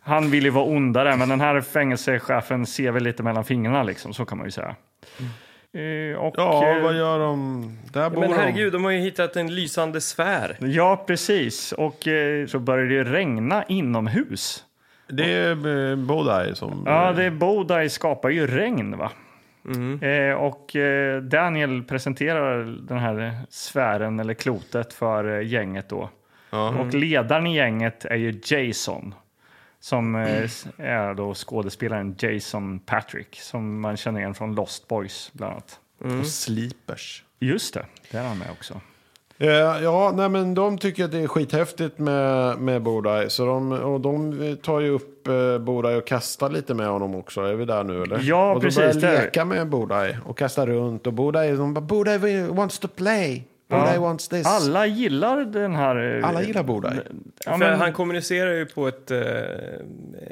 Han vill ju vara ondare, men den här fängelsechefen ser väl lite mellan fingrarna liksom, så kan man ju säga. Eh, Och, Ja, eh, vad gör de? Där bor Men de. herregud, de har ju hittat en lysande sfär. ja, precis. Och eh, så börjar det ju regna inomhus. Det är eh, Bodai som... Ja, det är Bodai skapar ju regn, va? Mm. Eh, och eh, Daniel presenterar den här sfären, eller klotet, för eh, gänget då. Mm. Och ledaren i gänget är ju Jason. Som eh, Mm. s- är då skådespelaren Jason Patrick, som man känner igen från Lost Boys, bland annat. Och Sleepers. Just det, där är han med också. Eh, ja, nej men de tycker att det är skithäftigt med, med Bodai. Så de, och de tar ju upp eh, Bodai och kastar lite med honom också. Är vi där nu eller? Ja, och precis, Och det är vi. börjar leka med Bodai och kasta runt. Och Bodai, de bara, Bodai wants to play. Bodai wants this. Alla gillar den här... eh, Alla gillar Bodai. Ja, För men, han kommunicerar ju på ett, eh,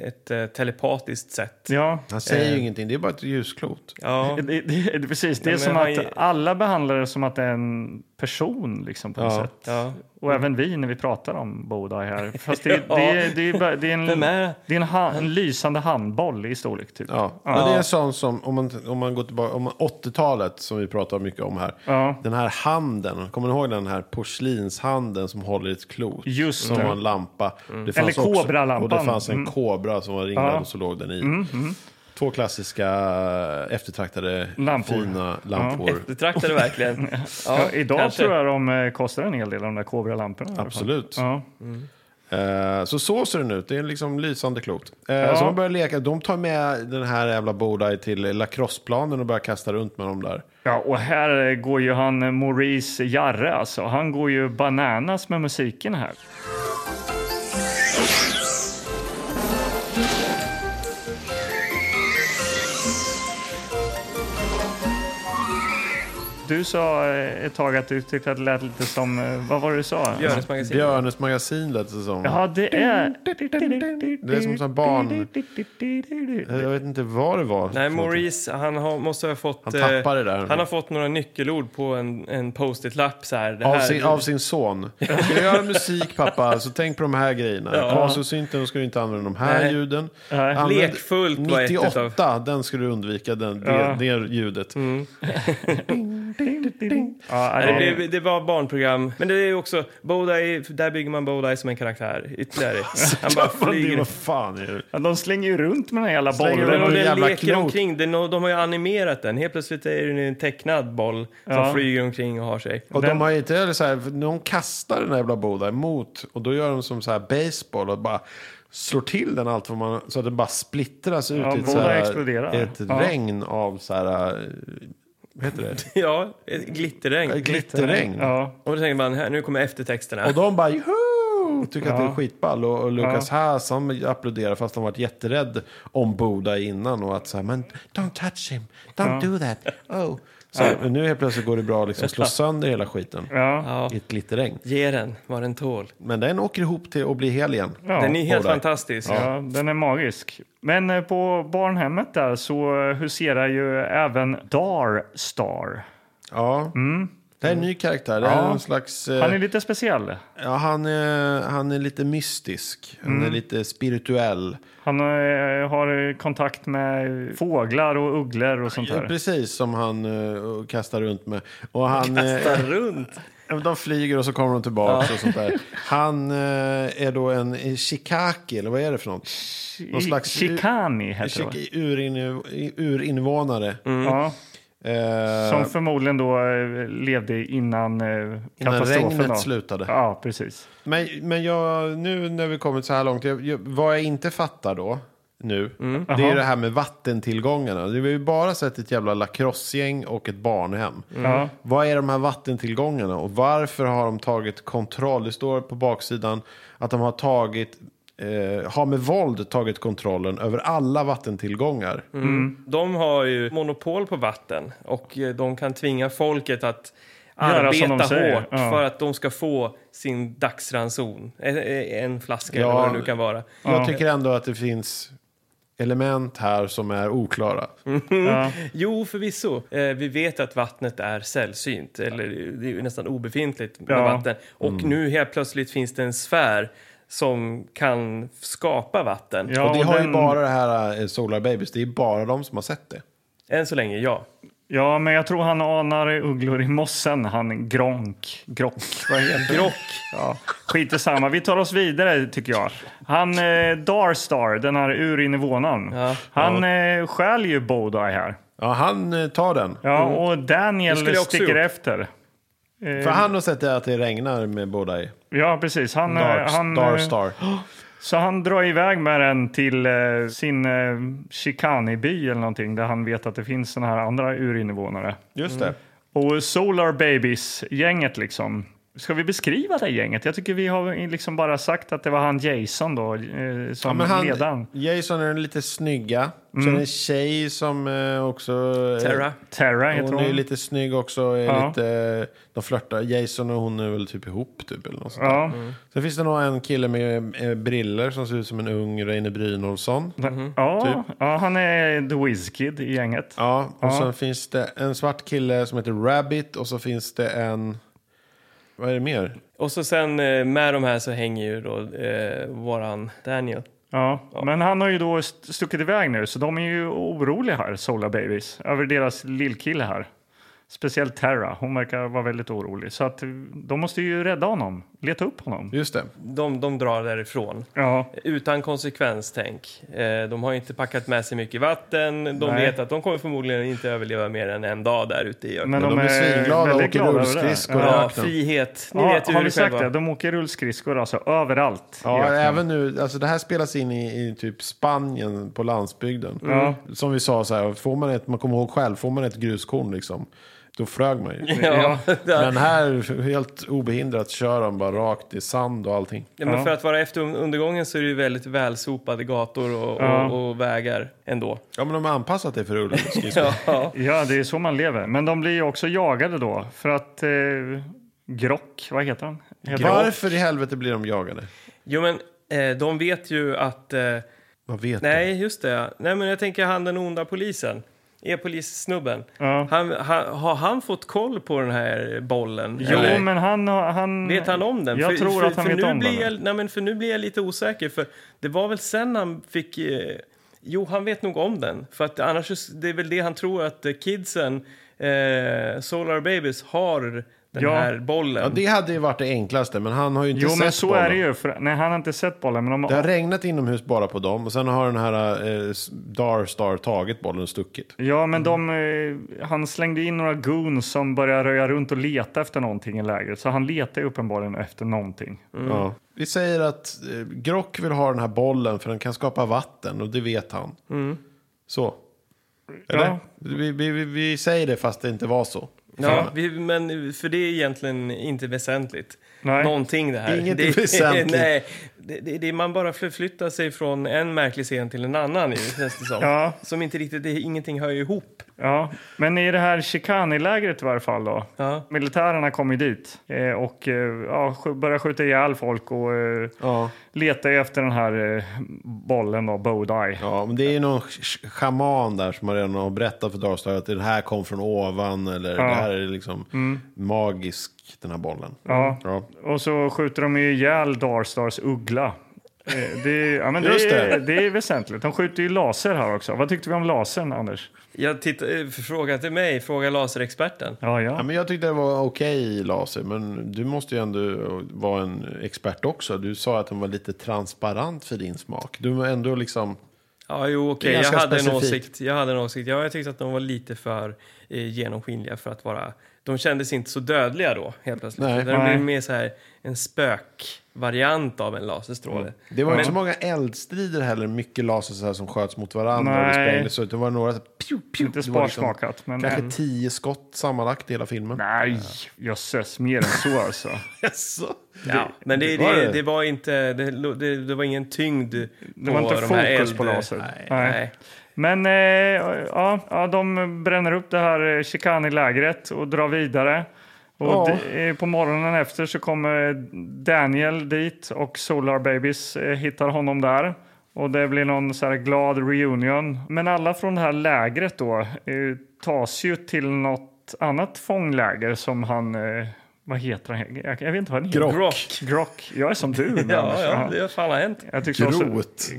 ett eh, telepatiskt sätt. ja. Han säger Eh. ju ingenting, det är bara ett ljusklot. Ja. Det, det, det, det- precis, det Ja, är men som han att är- alla behandlar det som att det är en person liksom, på något Ja. sätt. Ja. Och även vi när vi pratar om Bodai här. Fast det, Ja. det, är- det, är bara- det är en, Vem är- det är en, ha, en lysande handboll i storlek. Typ. Ja. Men det är en sån som, om man, om man går tillbaka, om man- 80-talet som vi pratar mycket om här. Ja. Den här handen, kommer ni ihåg den här porslinshanden som håller i ett klot? Just som det. var en lampa. Det Mm. Eller också- kobralampan. Mm. Och det fanns en kobra som var ringlad och så låg den i. Två klassiska eh, eftertraktade Lampor. fina lampor. Eftertraktade verkligen. Ja, Idag kanske. tror jag de eh, kostar en hel del, de där Cobra-lamporna. i alla fall. Absolut. Ja. Eh, Så så ser den ut. Det är liksom lysande klokt. Eh, Så de börjar leka. De tar med den här jävla Bodai till lacrosseplanen och börjar kasta runt med dem där. Ja, och här eh, går ju han eh, Maurice Jarre alltså. Han går ju bananas med musiken här. Du sa eh, ett tag att du tyckte att det lät lite som, eh, vad var det du sa? Björnes magasin. Björnes magasin lät det som. Ja, det är... Det är som sån här barn- Eh, Jag vet inte vad det var. Nej, Maurice, han har, måste ha fått... eh, Han tappar det där. han har fått några nyckelord på en, en post-it-lapp så här. Det Av här sin, av sin son. Ska du göra musik pappa, så tänk på de här grejerna. Ja. Kasosynten, då ska du inte använda de här Nej. ljuden. Nej. Använd Lekfullt var ett 98, utav- den ska du undvika, den, Ja. Mm. det, det ljudet. Ja, det Nej, det, det var barnprogram, men det är också Bodai, där bygger man Bodai som en karaktär ytterligare. Han bara Flyger. flyger. Vad fan är det? Ja, de slänger ju runt med den här jävla Slänger bollen. runt. Och Och Det är den jävla leker klokt. omkring, den, och de har ju animerat den. Helt plötsligt är det en tecknad boll som Ja. flyger omkring och har sig. Och Den- de har inte eller så här, någon kastar den här jävla Bodai mot och då gör de som så här baseball och bara slår till den allt vad man, så att den bara splittras ut Ja, i ett, Bodai så exploderar. här, ett Ja. regn av så här, eh, vad heter det? Ja, ett glitterregn. Glitterregn. Ja, Och då tänker man, här, nu kommer eftertexterna. Och de bara juhu! Tycker att det Ja. är skitball. Och, och Lucas Haas han applåderar fast han varit jätterädd om Bodai innan. Och att så här, men don't touch him, don't do that, oh. Så här, men nu helt plötsligt går det bra att liksom slå sönder hela skiten ja, ja. i ett glitterregn. Ge den vad den tål. Men den åker ihop till att bli hel igen. ja. Den är helt Bodai. fantastisk. Ja, den är magisk. Men eh, på barnhemmet där så eh, huserar ju även Darstar. Ja. Det här är en ny karaktär. Det här är Mm. Ja. någon slags... eh, Han är lite speciell. ja, han, är, han är lite mystisk. Han Mm. är lite spirituell. Han eh, har eh, kontakt med fåglar och ugglor och sånt Ja, där. precis som han eh, kastar runt med. Och han, eh, Kastar runt. Mm. Ja, men De flyger och så kommer de tillbaka och sånt där. Han eh, är då en eh, shikaki, eller vad är det för något? Någon slags- Chikani heter det. va? Shik- urinv- urinvånare. Ja, Eh, som förmodligen då eh, levde innan, eh, när katastrofen. regnet då. slutade. Ja, precis. Men, men jag, nu när vi kommit så här långt, jag, jag, vad jag inte fattar då, nu, det Aha. är det här med vattentillgångarna. Vi har ju bara sett ett jävla lacrossegäng och ett barnhem. Ja. Vad är de här vattentillgångarna och varför har de tagit kontroll? Det står på baksidan att de har tagit eh, har med våld tagit kontrollen över alla vattentillgångar. Mm. De har ju monopol på vatten och eh, de kan tvinga folket att Göra som de arbeta säger, hårt ja. för att de ska få sin dagsranson. En, en flaska Ja. eller vad det nu kan vara. Jag tycker ändå att det finns element här som är oklara. Mm. Ja. Jo, förvisso. Eh, vi vet att vattnet är sällsynt, eller det är ju nästan obefintligt med Ja. Mm. vatten. Och nu helt plötsligt finns det en sfär som kan skapa vatten. Ja, och det och har den- ju bara det här eh, Solar Babies, det är bara de som har sett det. Än så länge, ja. Ja, men jag tror han anar ugglor i mossen, han Gronk. Grock, vad heter Grock. Ja, skit i samma. Vi tar oss vidare, tycker jag. Han eh, Darstar, den här urinvånaren, Ja. han eh, stjäl ju Bodhi här. Ja, han eh, tar den. Ja, och Mm. Det skulle Daniel jag också sticker gjort. efter. För han har sett det att det regnar med båda i. Ja, precis. Han, eh, Dark, han, eh, Star Star. Så han drar iväg med den till eh, sin eh, Chicani-by eller någonting där han vet att det finns såna här andra urinvånare. Just Mm. det. Och Solar Babies-gänget liksom. Ska vi beskriva det gänget? Jag tycker vi har liksom bara sagt att det var han Jason då, eh, Ja, som men han, ledaren. Jason är den lite snygga. Mm. Sen är det en tjej som eh, också... eh, Terra. Terra heter Hon hon. är ju lite snygg också. Är Ja. lite, de flörtar. Jason och hon är väl typ ihop. Typ, eller något sånt där. Ja. Sen finns det nog en kille med eh, briller som ser ut som en ung Reine Brynolfsson. Ja, ja, han är The Wizkid i gänget. Ja, och sen finns det en svart kille som heter Rabbit och så finns det en... Vad är det mer? Och så sen eh, med de här så hänger ju då eh, våran Daniel. Ja. Men han har ju då st- stuckit iväg nu, så de är ju oroliga här, Solar Babies, över deras lillkille här. Speciellt Terra, hon verkar vara väldigt orolig. Så att eh, de måste ju rädda honom leta upp honom. Just det. De, de drar därifrån. Ja, Utan konsekvenstänk. Eh, De har inte packat med sig mycket vatten. De Nej. vet att de kommer förmodligen inte överleva mer än en dag där ute i öknen. men, de är svinglada och väldigt åker glada över det. rullskridskor. Ja. Ja, öknen. frihet. Ni Ja, vet ju hur har vi det sagt själva. det? De åker rullskridskor alltså överallt. i Ja, öknen. även nu, alltså det här spelas in i, i typ Spanien på landsbygden. Ja. Som vi sa, så här, får man, ett, man kommer ihåg själv, får man ett gruskorn liksom, då flög man ju. Ja, Men här, helt obehindrat, kör de bara rakt i sand och allting. Ja, men Ja. för att vara efter undergången så är det ju väldigt välsopade gator och, Ja. och, och vägar ändå. Ja, men de har anpassat det för rullskridskor. Ja. Ja, det är så man lever. Men de blir ju också jagade då för att eh, Grock, vad heter han? Heter han? Varför i helvete blir de jagade? Jo, men eh, de vet ju att... Eh, Vad vet nej, just det. Nej, men jag tänker han den onda polisen. E-polissnubben. Ja. Han, han, har han fått koll på den här bollen? Jo, Eller men han... han Vet han om den? Jag för, tror för, att han för vet nu om blir den. Jag, nej, men för nu blir jag lite osäker. För det var väl sen han fick... Eh, jo, han vet nog om den. För att annars så- det är väl det han tror att eh, kidsen, eh, Solar Babies, har den Ja. här bollen. Ja, det hade ju varit det enklaste, men han har ju inte Jo, sett men så bollen. är det ju. För, nej, han har inte sett bollen. Men de, Det har regnat inomhus bara på dem och sen har den här eh, Darstar tagit bollen och stuckit. Ja, men de, eh, han slängde in några goons som började röja runt och leta efter någonting i lägret. Så han letar ju uppenbarligen efter någonting. Mm. Ja. Vi säger att eh, Grock vill ha den här bollen för den kan skapa vatten och det vet han. Mm. Så. Eller? Ja. Vi, vi, vi- vi säger det fast det inte var så. Ja, vi, men eh, för det är egentligen inte väsentligt. Nej. Någonting det här. Inget det, är väsentligt. Nej, det, det, det, man bara förflyttar sig från en märklig scen till en annan, ju, känns det som. Ja. Som inte riktigt, det, ingenting hör ju ihop. Ja, men i det här Chicani-lägret i varje fall då. Ja. Militärerna kom ju dit eh, och eh, ja, sk- började skjuta ihjäl folk och eh, Ja. letade ju efter den här eh, bollen då, Bodai. Ja, men det är ju någon sch- schaman där som har redan har berättat för Darstar att det här kom från ovan eller det här är liksom magisk, den här bollen. Mm. Ja. Ja. Och så skjuter de ju ihjäl Darstars uggla. Eh, Det är, ja, men Just det, det. är, det är väsentligt. De skjuter ju laser här också. Vad tyckte vi om lasern, Anders? Jag tittar, eh, fråga till mig, fråga laserexperten. Ja, Ja, ja. men jag tyckte det var okej laser, men du måste ju ändå vara en expert också. Du sa att den var lite transparent för din smak. Du var ändå liksom... Ja, jo, Det okej. är Jag ganska hade en specifikt. åsikt. Jag hade en åsikt. Ja, jag tyckte att de var lite för eh, genomskinliga för att vara... De kändes inte så dödliga då, helt plötsligt. Nej. det Nej. blev mer så här en spökvariant av en laserstråle. Det var ju inte så många eldstrider heller, mycket laser så här som sköts mot varandra. Och det, Nej. sprängdes, så det var några... så här, Pju, pju, Inte det var liksom sparsmakat, men... Kanske tio skott sammanlagt i hela filmen. Nej, jösses. Mer än så alltså. Jaså? Ja, men det, var det, det. det var inte, det, det, det var ingen tyngd Det var inte de här fokus eld- på laser. Nej. Nej. Nej. Men eh, ja, ja, de bränner upp det här eh, Chicani-lägret och drar vidare. Och Ja. d- eh, på morgonen efter så kommer Daniel dit och Solar Babies eh, hittar honom där. Och det blir någon så här glad reunion. Men alla från det här lägret då eh, tas ju till något annat fångläger som han... Eh, vad heter han? Jag, jag vet inte vad han heter. Grock. Grock. Grock. Jag är som du. Anders. Ja, ja, det har fan hänt. Jag tyckte också- Grot.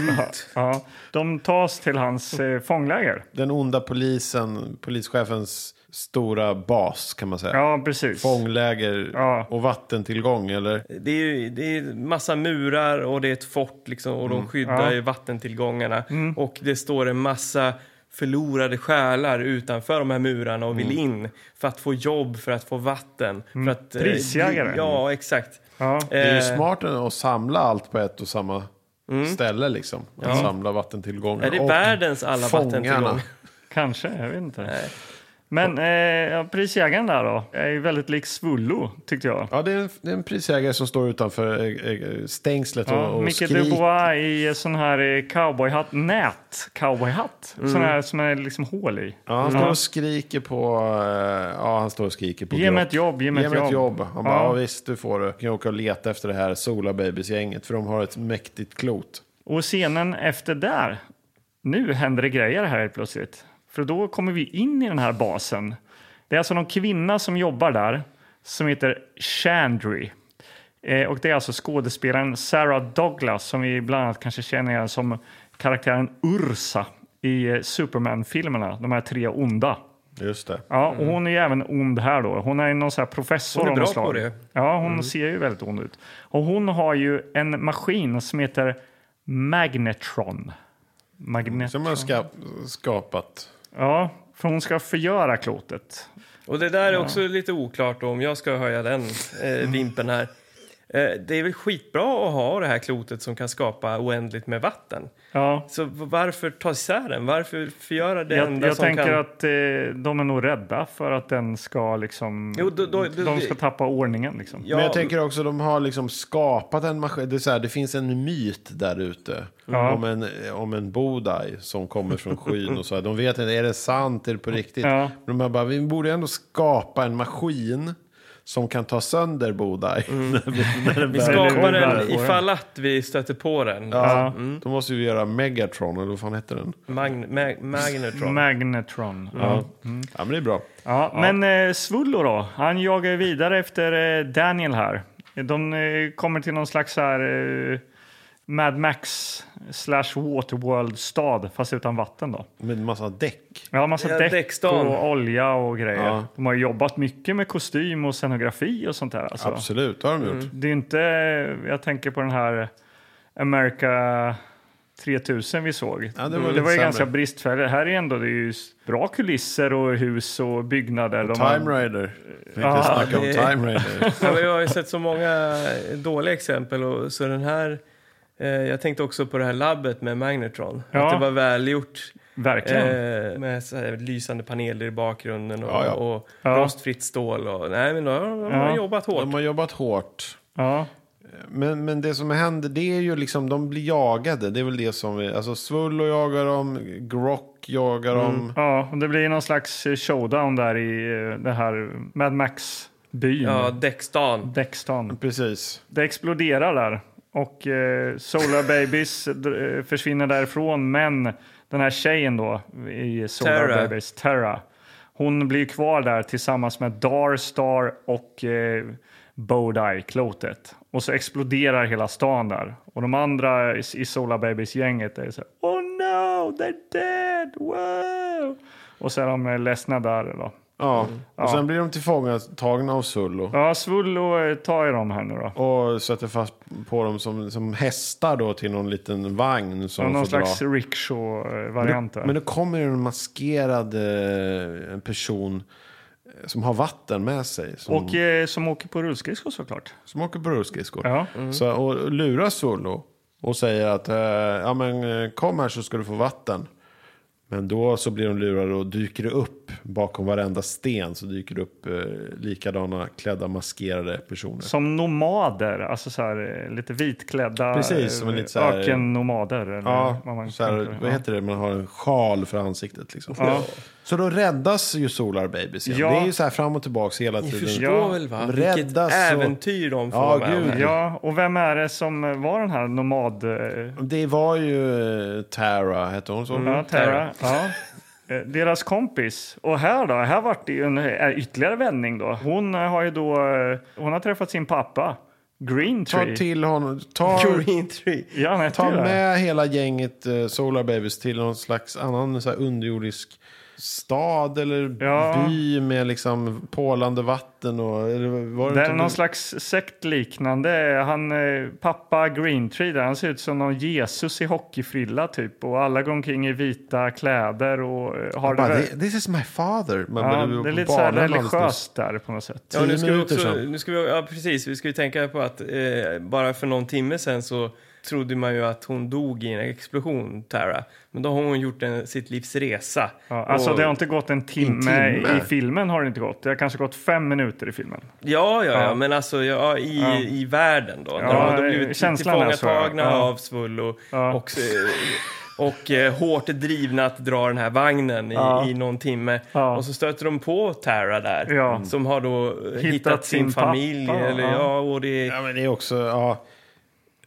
Grock. Ja, de tas till hans eh, fångläger. Den onda polisen, polischefens stora bas kan man säga. Ja, precis. Fångläger Ja. och vattentillgång eller? Det är ju det är massa murar och det är ett fort liksom, och Mm. de skyddar Ja. ju vattentillgångarna. Och det står en massa förlorade själar utanför de här murarna och vill Mm. in för att få jobb, för att få vatten. För att, eh, Prisjägare. Ja, exakt. Ja. Det är ju Eh, Mm. smart att samla allt på ett och samma ställe. Liksom. Att samla vattentillgångar. Är det och världens alla fångarna. vattentillgångar? Kanske, jag vet inte. Men eh, ja, prisjägaren där då, är ju väldigt lik Svullo, tyckte jag. Ja, det är, en, det är en prisjägare som står utanför eh, eh, stängslet Ja, och, och Micke skriker. Dubois i sån här eh, cowboyhatt, nät cowboyhatt, sån här som är liksom hål i. Ja, han står och skriker på... eh, Ja, han står och skriker på Ge mig Grock. ett jobb, ge mig Ge ett mig ett jobb. jobb. Han bara, Ja. ja. visst, du får det. Kan jag åka och leta efter det här Sola Babies-gänget, för de har ett mäktigt klot. Och scenen efter där, nu händer det grejer här helt plötsligt. För då kommer vi in i den här basen. Det är alltså någon kvinna som jobbar där som heter Chandry. Eh, och det är alltså skådespelaren Sarah Douglas som vi bland annat kanske känner igen som karaktären Ursa i eh, Superman-filmerna, de här tre onda. Just det. Ja, och hon är ju även ond här då. Hon är ju någon så här professor Mm. Hon är av något bra på slag. det. Mm. Ja, hon ser ju väldigt ond ut. Och hon har ju en maskin som heter Magnetron. Magnet... Som har ska, skapat. Ja, för hon ska förgöra klotet. Och det där är också lite oklart då, om jag ska höja den Mm. eh, vimpen här. Eh, det är väl skitbra att ha det här klotet som kan skapa oändligt med vatten. Ja, Så v- varför ta isär den? Varför förgöra det jag, enda jag som tänker kan... att eh, de är nog rädda för att den ska liksom... Jo, då- då- då- de ska tappa ordningen liksom. Ja, Men jag tänker också, de har liksom skapat en maskin. Det, är så här, det finns en myt där ute Ja. om, en, om en Bodai som kommer från skyn. och så här. De vet inte, är det sant? Är det på riktigt? Ja. Men de här bara, vi borde ändå skapa en maskin som kan ta sönder Bodai. när vi- när den vi börjar- skapar Eller- den ifall att vi stöter på den. Ja, Då måste vi göra Megatron, eller vad fan heter den? Magn- mag- magnetron. Magnetron. Ja. Ja, men det är bra. Ja, Men eh, Svullo då? Han jagar ju vidare efter eh, Daniel här. De eh, kommer till någon slags så här, eh, Mad Max slash Waterworld-stad, fast utan vatten. då. Med en massa däck. Ja, massa Ja, däck däckstan. och olja och grejer. Ja. De har ju jobbat mycket med kostym och scenografi och sånt där. Alltså. Absolut, har de gjort. Det är inte... Jag tänker på den här America 3000 vi såg. Ja, det var Mm. lite det var ju sämre. ganska bristfälligt. Här är ändå det är ju bra kulisser och hus och byggnader. De har- Time Raider. Vi kan Ja, snacka om det- Time Raider. Ja, men jag har ju sett så många eh, dåliga exempel. Och, så den här, eh, jag tänkte också på det här labbet med Magnetron. Ja. Att det var välgjort. Eh, Verkligen. med så här lysande paneler i bakgrunden och, Ja, ja. och Ja. rostfritt stål. Och, nej, men de, de har Ja. jobbat hårt. De har jobbat hårt. Ja. Men, men det som händer, det är ju liksom, de blir jagade. Det är väl det som, vi, alltså Svullo jagar dem, Grock jagar Mm. dem. ja, och det blir någon slags showdown där i eh, det här Mad Max-byn. Ja, däckstan. Dexton. Precis. Det exploderar där och eh, Solar Babies dr- eh, försvinner därifrån. Men den här tjejen då i Solar Terra. Babies, Terra, hon blir kvar där tillsammans med Darstar och eh, Bodai, klotet. Och så exploderar hela stan där. Och de andra i, i Solar Babies-gänget är så här, Oh no, they're dead, wow! Och så är de eh, ledsna där då. Ja. Och sen blir de tillfångatagna av Svullo. Mm. Ja, Svullo eh, tar i dem här nu då. Och sätter fast på dem som, som hästar då till någon liten vagn som Ja, de någon får slags dra. rickshaw-variant där. Men då kommer en maskerad eh, en person eh, som har vatten med sig. Som, Och eh, som åker på rullskridskor såklart. som åker på rullskridskor. Ja. Så, och lurar Solo och säger att eh, ja, men, eh, kom här så ska du få vatten. Men då så blir de lurade och dyker det upp bakom varenda sten så dyker det upp eh, likadana klädda maskerade personer. Som nomader, alltså så här, eh, lite vitklädda Precis, som en eh, lite så här- ökennomader. Eller vad Ja, man så här, tänker. vad Ja. heter det? Man har en sjal för ansiktet liksom. Ja. Så då räddas ju Solar Babies igen. Ja. Det är ju så här fram och tillbaka hela Ni tiden. förstår Ja, väl va? de Vilket räddas och- äventyr de får Ja, vara med gud, om. det? Ja, och vem är det som eh, var den här nomad... eh, Det var ju eh, Tara, hette hon så? Mm. ja, Terra. Ja. Eh, Deras kompis. Och här då, här vart det ju en eh, ytterligare vändning då. Hon eh, har ju då, eh, hon har träffat sin pappa, Green Ta Tree. till honom. Ta, Green Tree. Ja, han heter Ta ju det. med hela gänget eh, Solar Babies till någon slags annan så här, underjordisk stad eller Ja. by med liksom pålande vatten och... Eller, var det Det är inte- någon slags sektliknande. Han, eh, pappa Greentree där, han ser ut som någon Jesus i hockeyfrilla typ. Och alla går omkring i vita kläder och eh, har Bara, det, "Thi- This is my father. Man, ja, men var det är på lite så här banan alldeles nyss. religiöst där på något sätt. Ja, nu Tio ska vi minuter också, sedan. nu ska vi, ja, precis. Vi ska ju tänka på att eh, bara för någon timme sen så trodde man ju att hon dog i en explosion, Tara. Men då har hon gjort en, sitt livs resa. Ja, alltså Och- det har inte gått en timme, timme? i filmen har det inte gått. Det har kanske gått fem minuter i filmen. Ja, ja, ja, men alltså ja, i, i världen då. Ja, Ja, de har blivit känslan är så, tillfångatagna ja. av Svullo Ja. och, och, och eh, hårt drivna att dra den här vagnen i, Ja. i någon timme. Ja. Och så stöter de på Tara där, Ja. som har då eh, hittat, Hittat sin sin pappa, familj. Eller, ja. ja, och det, Ja, men det är också... Ja,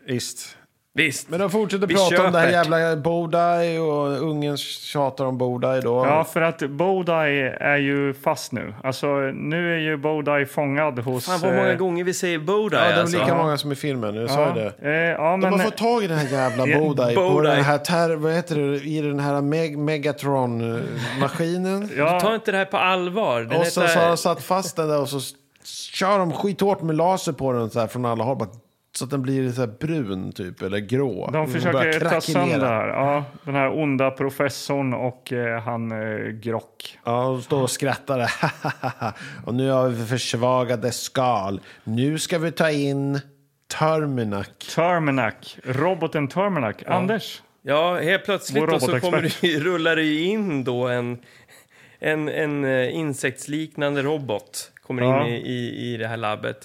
visst. Visst. Men de fortsätter Vi prata om det här köper. jävla Bodaj och ungen tjatar om Bodaj då. Ja, för att Bodai är ju fast nu. Alltså, nu är ju Bodai fångad hos... Fan vad många eh, gånger vi säger Bodaj ja, det är alltså. lika många som i filmen, jag sa ja, ju det. eh, ja, De men... har fått tag i den här jävla Ja, Bodaj på Bodaj. den här, ter- vad heter det, i den här meg- Megatron-maskinen. ja, Ta inte det här på allvar. Den och så, heter- så har de satt fast den där och så s- kör de skithårt med laser på den så här från alla håll. Bara, så att den blir så här brun typ, eller grå. De Den börjar försöker ta krackelera. sönder det här. Ja, den här onda professorn och eh, han eh, Grock. Ja, de står och skrattar. och nu har vi försvagade skal. Nu ska vi ta in Terminac. Terminac, roboten Terminac. Anders, Ja, helt plötsligt Vår då så robotexpert. kommer det, ju- rullar det ju in då en, en, en eh, insektsliknande robot. Kommer Ja. in i, i, i det här labbet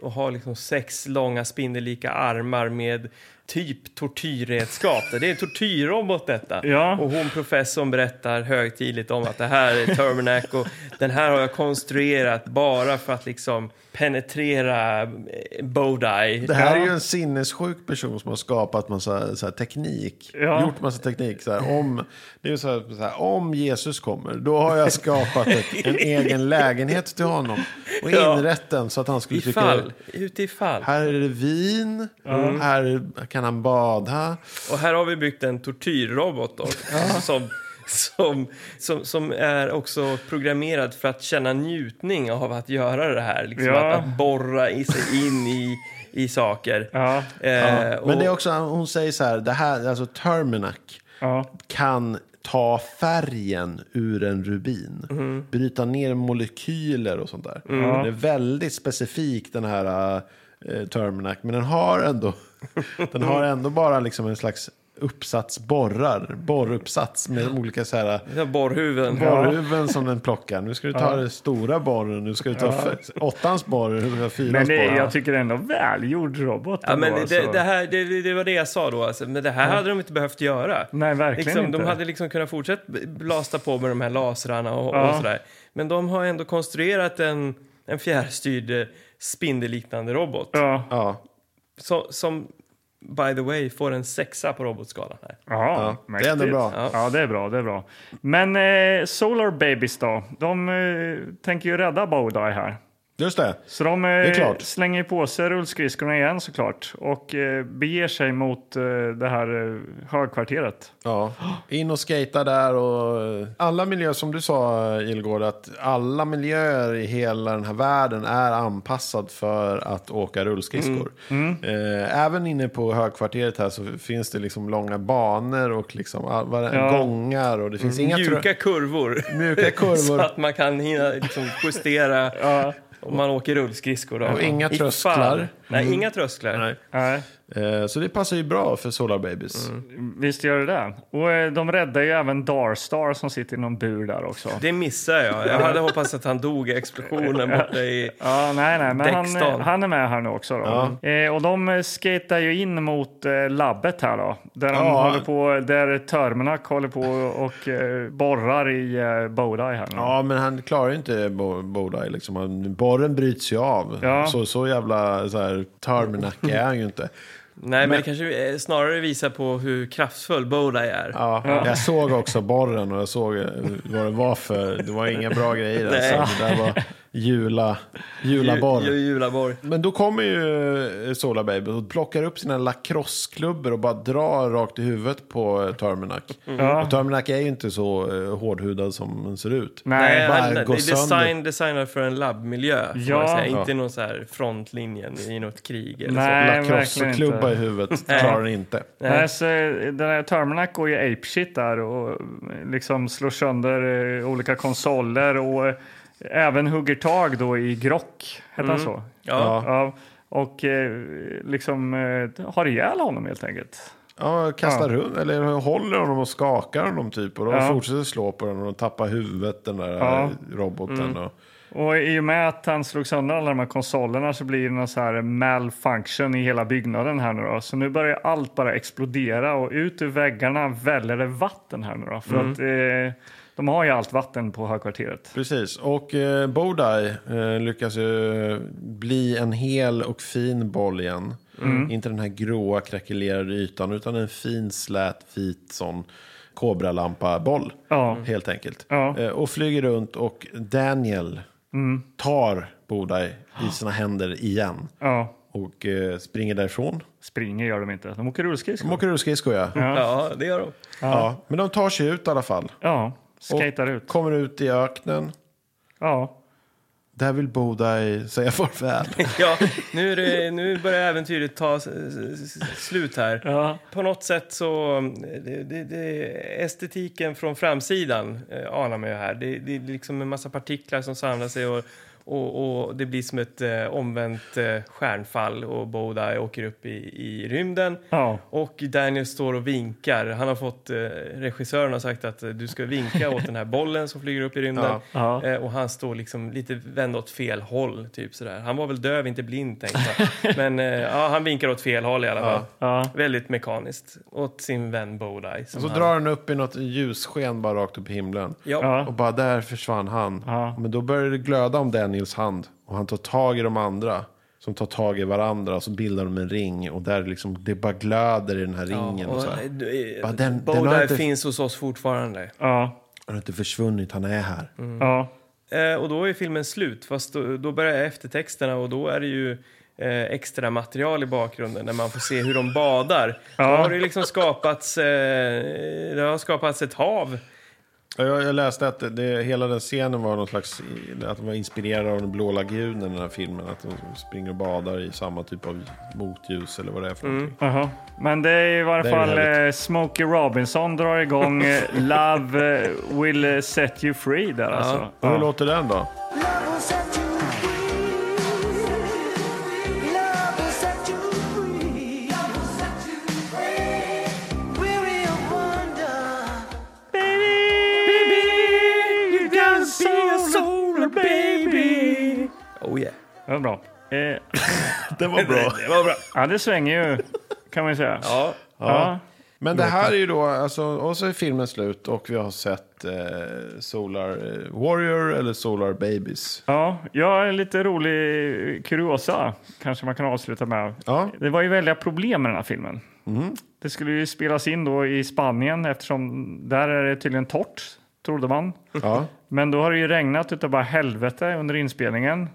och har liksom sex långa spindellika armar med typ tortyrredskap. Det är en tortyrrobot detta. Ja. Och hon professorn berättar högtidligt om att det här är Terminac och den här har jag konstruerat bara för att liksom penetrera eh, Bodai. Det här är ju en sinnessjuk person som har skapat massa så här, teknik. Ja. Gjort massa teknik. Så här, om, det är ju så här, så här, om Jesus kommer, då har jag skapat ett, en egen lägenhet till honom. Och Ja. inrett den så att han skulle Ifall, tycka... utifall. Här är det vin, här kan han bada. Och här har vi byggt en tortyrrobot då, som, som, som, som är också programmerad för att känna njutning av att göra det här. Liksom Ja. att, att borra i sig in i, i saker. Ja. Eh, och, Men det är också, hon säger så här, det här, alltså Terminac. ja. kan ta färgen ur en rubin. Bryta ner molekyler och sånt där. Mm. Det är väldigt specifik den här eh, Terminac. Men den har ändå, den har ändå bara liksom en slags uppsats borrar. Borruppsats med olika så här det är liksom borrhuvuden. borrhuvuden som den plockar. Nu ska du ta den stora borren, nu ska du ta f- åttans borr, nu ska du ta fyrans Men det, borr. jag tycker det är ändå välgjord robot. Ja, men ändå, det, alltså. det, här, det, det var det jag sa då. Alltså. Men det här hade de inte behövt göra. Nej, verkligen liksom, inte. De hade liksom kunnat fortsätta blasta på med de här lasrarna och, Ja. och sådär. Men de har ändå konstruerat en, en fjärrstyrd eh, spindelliknande robot. Ja. Ja. Så, som, by the way, får en sexa på robotskalan. Här. Ja, Ja, det är ändå mäktigt. bra. Ja. det är bra. Det är bra. Men eh, Solar Babies då? De eh, tänker ju rädda Bodai här. Just det. Så de är eh, klart. slänger på sig rullskridskorna igen såklart och eh, beger sig mot eh, det här eh, högkvarteret. Ja, in och skata där och eh, alla miljöer som du sa Ilgård att alla miljöer i hela den här världen är anpassad för att åka rullskridskor. Eh, även inne på högkvarteret här så finns det liksom långa banor och liksom all- var- Ja. gångar och det finns inga trö- Mjuka kurvor. mjuka Så kurvor. att man kan hinna liksom, justera om man åker rullskridskor. då. Och inga Ifall- trösklar. Mm. Nej, inga trösklar. Nej. Nej, Eh, så det passar ju bra för Solar Babies. visst gör det det. Och eh, de räddar ju även Darstar som sitter i någon bur där också. Det missar jag. Jag hade hoppats att han dog i explosionen borta i... Ja, nej, nej, men han, Däckstan. han är med här nu också. Då. Eh, och de eh, skatar ju in mot eh, labbet här då. Där, de Ja. håller på, där Terminac håller på och eh, borrar i eh, Bodai här nu. Ja, men han klarar ju inte Bo- Bodai. Liksom. Han- Borren bryts ju av. Ja. Så, så jävla så här, Terminac är han ju inte. Nej, men, det kanske eh, snarare visar på hur kraftfull Bodai är. Ja, Jag såg också borren och jag såg eh, vad det var för... Det var inga bra grejer. Nej. Alltså. Det där var jula, julaborr. Ju- ju- Julaborg. Men då kommer ju eh, Solar Baby och plockar upp sina lacrosseklubbor och bara drar rakt i huvudet på eh, Terminac. Mm. Och Terminac är ju inte så eh, hårdhudad som den ser ut. Nej, Nej, bara han, det är går sönder. design, designad för en labbmiljö. får Ja. man säga. Inte någon så här frontlinjen i något krig. Eller Så. Nej, verkligen inte. Lacrosseklubba i huvudet klarar den inte. Nej, så eh, den här Terminac går ju apeshit där och eh, liksom slår sönder eh, olika konsoler och eh, även hugger tag då i Grock, hette han Mm. så? Ja. Ja, och eh, liksom eh, har ihjäl honom helt enkelt. Ja, kastar runt, eller håller honom och skakar honom typ. Och de Ja. fortsätter slå på den och de tappar huvudet, den där eh, Ja. Mm. roboten. Och, Och i och med att han slog sönder alla de här konsolerna så blir det någon så här malfunction i hela byggnaden här nu då. Så nu börjar allt bara explodera och ut ur väggarna väller det vatten här nu då. För att eh, De har ju allt vatten på högkvarteret. Precis, och eh, Bodai eh, lyckas ju bli en hel och fin boll igen. Inte den här gråa krackelerade ytan utan en fin slät vit sån kobralampa-boll. Ja. Helt enkelt. Ja. Eh, och flyger runt och Daniel tar Bodai i sina händer igen. Ja, Och eh, springer därifrån. springer gör de inte. De åker rullskridskor. De åker rullskridskor ja. Ja. Ja, det gör de. Men de tar sig ut i alla fall. Ja, skejtar Och ut. Kommer ut i öknen. Ja, Där vill Bodai säga farväl. Ja, nu, är det, nu börjar äventyret ta s- s- s- slut här. ja, På något sätt så... Det, det, det, estetiken från framsidan eh, anar man ju här. Det, det är liksom en massa partiklar som samlar sig och, och, och det blir som ett eh, omvänt eh, stjärnfall och Bodai åker upp i, i rymden. ja. Och Daniel står och vinkar. Han har fått, eh, regissören har sagt att eh, du ska vinka åt den här bollen som flyger upp i rymden. Ja. Eh, och han står liksom lite vänd åt fel håll. Typ sådär. Han var väl döv, inte blind tänkte jag. Men eh, ja, han vinkar åt fel håll i alla fall. Ja. Väldigt mekaniskt. Åt sin vän Bodai. Och så drar han upp i något ljussken bara rakt upp i himlen. ja. Ja. Och bara där försvann han. Ja. Men då börjar det glöda om Daniels hand. Och han tar tag i de andra. Som tar tag i varandra och så bildar de en ring. Och där liksom, det bara glöder i den här ringen. Och, Och, så eh, här. du, eh, Bara, den- den har Bodai inte- finns hos oss fortfarande. ja, Han har inte försvunnit, han är här. ja. Eh, och då är filmen slut, fast då, då börjar eftertexterna och då är det ju eh, extra material i bakgrunden när man får se hur de badar. Då har det liksom skapats, eh, det har skapats ett hav. Ja, Jag, jag läste att det, det, hela den scenen var någon slags, att de var inspirerade av den blå lagunen i den här filmen. Att de springer och badar i samma typ av motljus eller vad det är Mm. för någonting. Jaha. Men det är i varje Det är fall härligt. eh, Smokey Robinson drar igång eh, Love eh, will eh, set you free där alltså. Och hur Ja. låter den då? Oh yeah. Det var bra. Eh, Det var bra. ja, det svänger ju kan man ju säga. Ja. Ja. Men det här är ju då, alltså, och så är filmen slut och vi har sett eh, Solar eh, Warrior eller Solar Babies. Ja, jag är lite rolig kuriosa, kanske man kan avsluta med. Ja. Det var ju väldiga problem med den här filmen. Det skulle ju spelas in då i Spanien eftersom där är det tydligen torrt, trodde man. Ja. Men då har det ju regnat utav bara helvete under inspelningen.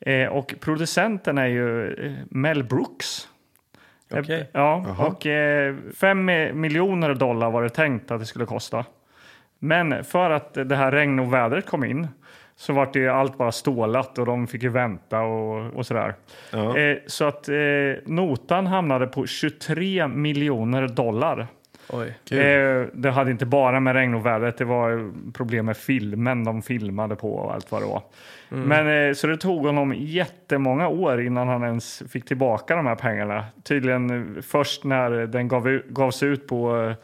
Eh, och producenten är ju eh, Mel Brooks. Eh, Okej. Ja, Jaha. och eh, fem eh, miljoner dollar var det tänkt att det skulle kosta. Men för att det här regn och vädret kom in så vart det ju allt bara stålat och de fick ju vänta och, och sådär. Eh, så att eh, notan hamnade på 23 miljoner dollar. Oj. Eh, det hade inte bara med regn och vädret, det var eh, problem med filmen de filmade på och allt vad det var. Mm. Men eh, så det tog honom jättemånga år innan han ens fick tillbaka de här pengarna. Tydligen eh, först när den gav, u- gavs ut på eh,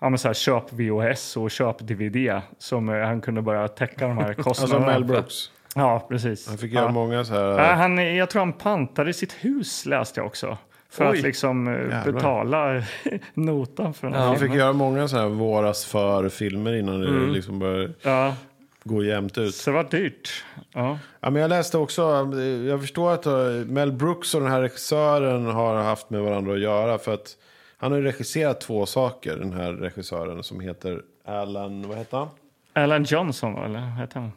ja, men så här, köp VHS och köp DVD som eh, han kunde börja täcka de här Alltså kostnaderna. Mel Brooks. Ja, precis. Han fick ja. göra många så här... Ja, han, eh, jag tror han pantade sitt hus läste jag också. För Oj. att liksom eh, Jävlar. betala notan för den här Han filmen. fick göra många så här våras för filmer innan det liksom började Ja. gå jämnt ut. Så det var dyrt. Ja. Ja, men jag läste också, eh, jag förstår att eh, Mel Brooks och den här regissören har haft med varandra att göra. För att han har ju regisserat två saker, den här regissören som heter Alan, vad heter han? Alan Johnson, eller hette han?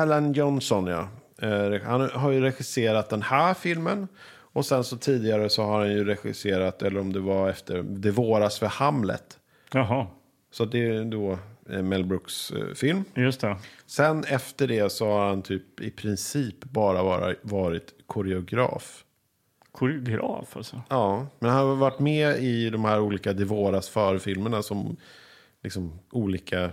Alan Johnson, ja. Eh, Han har ju regisserat den här filmen. Och sen så tidigare så har han ju regisserat, eller om det var efter, Det våras för Hamlet. Jaha, Så det är ju då eh, Mel Brooks eh, film. just det. Sen efter det så har han typ i princip bara vara- varit koreograf. Koreograf alltså. Ja, men han har varit med i de här olika Det våras för-filmerna som liksom olika,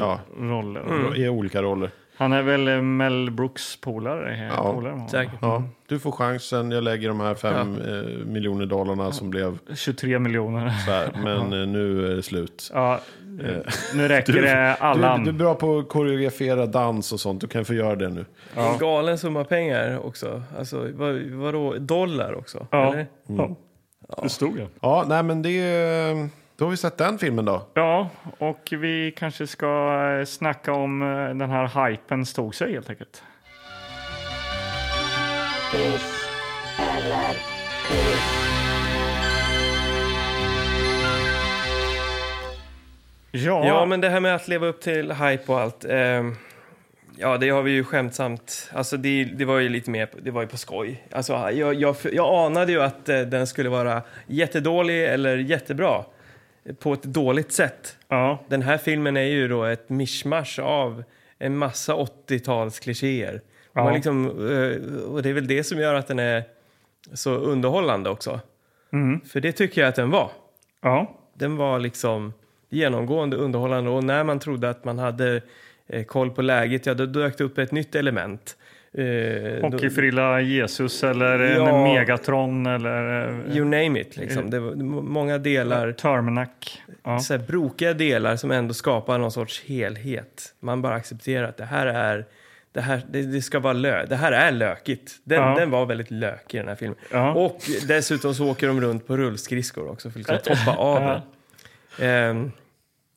ja, Roller. i olika roller. Han är väl eh, Mel Brooks polare? eh, Ja, polare med honom. Säkert. Ja, du får chansen, jag lägger de här fem eh, miljoner dollarna som blev 23 miljoner. så här, men eh, nu är det slut. Ja, nu räcker det Eh. Du, Allan. du är bra på att koreografera dans och sånt, du kan få göra det nu. En galen summa pengar också. Alltså, vad, vadå? Dollar också? ja. Mm. Eller? Ja. Det stod jag. Ja, nej men det är eh, Då har vi sett den filmen då. Ja, och vi kanske ska eh, snacka om eh, den här hypen stod sig helt enkelt. Ja, Ja, men det här med att leva upp till hype och allt. ehm, ja, det har vi ju skämtsamt. Alltså, det, det var ju lite mer, det var ju på skoj. Alltså, jag, jag, jag anade ju att eh, den skulle vara jättedålig eller jättebra på ett dåligt sätt. ja, Den här filmen är ju då ett mischmasch av en massa 80-talsklichéer. Ja. Ja. Liksom, eh, och det är väl det som gör att den är så underhållande också. För det tycker jag att den var mm, ja. den var liksom genomgående underhållande och när man trodde att man hade eh, koll på läget, ja då dök det upp ett nytt element. Eh, då- Hockeyfrilla Jesus eller en Ja. Megatron eller eh, you name it, liksom. Det var m- många delar, Terminac. Ja. så här brokiga delar som ändå skapar någon sorts helhet. Man bara accepterar att det här är det här, det, det ska vara lö, det här är lökigt. Den, Ja. den var väldigt lökig den här filmen. Ja. Och dessutom så åker de runt på rullskridskor också för att liksom toppa av den. Ehm,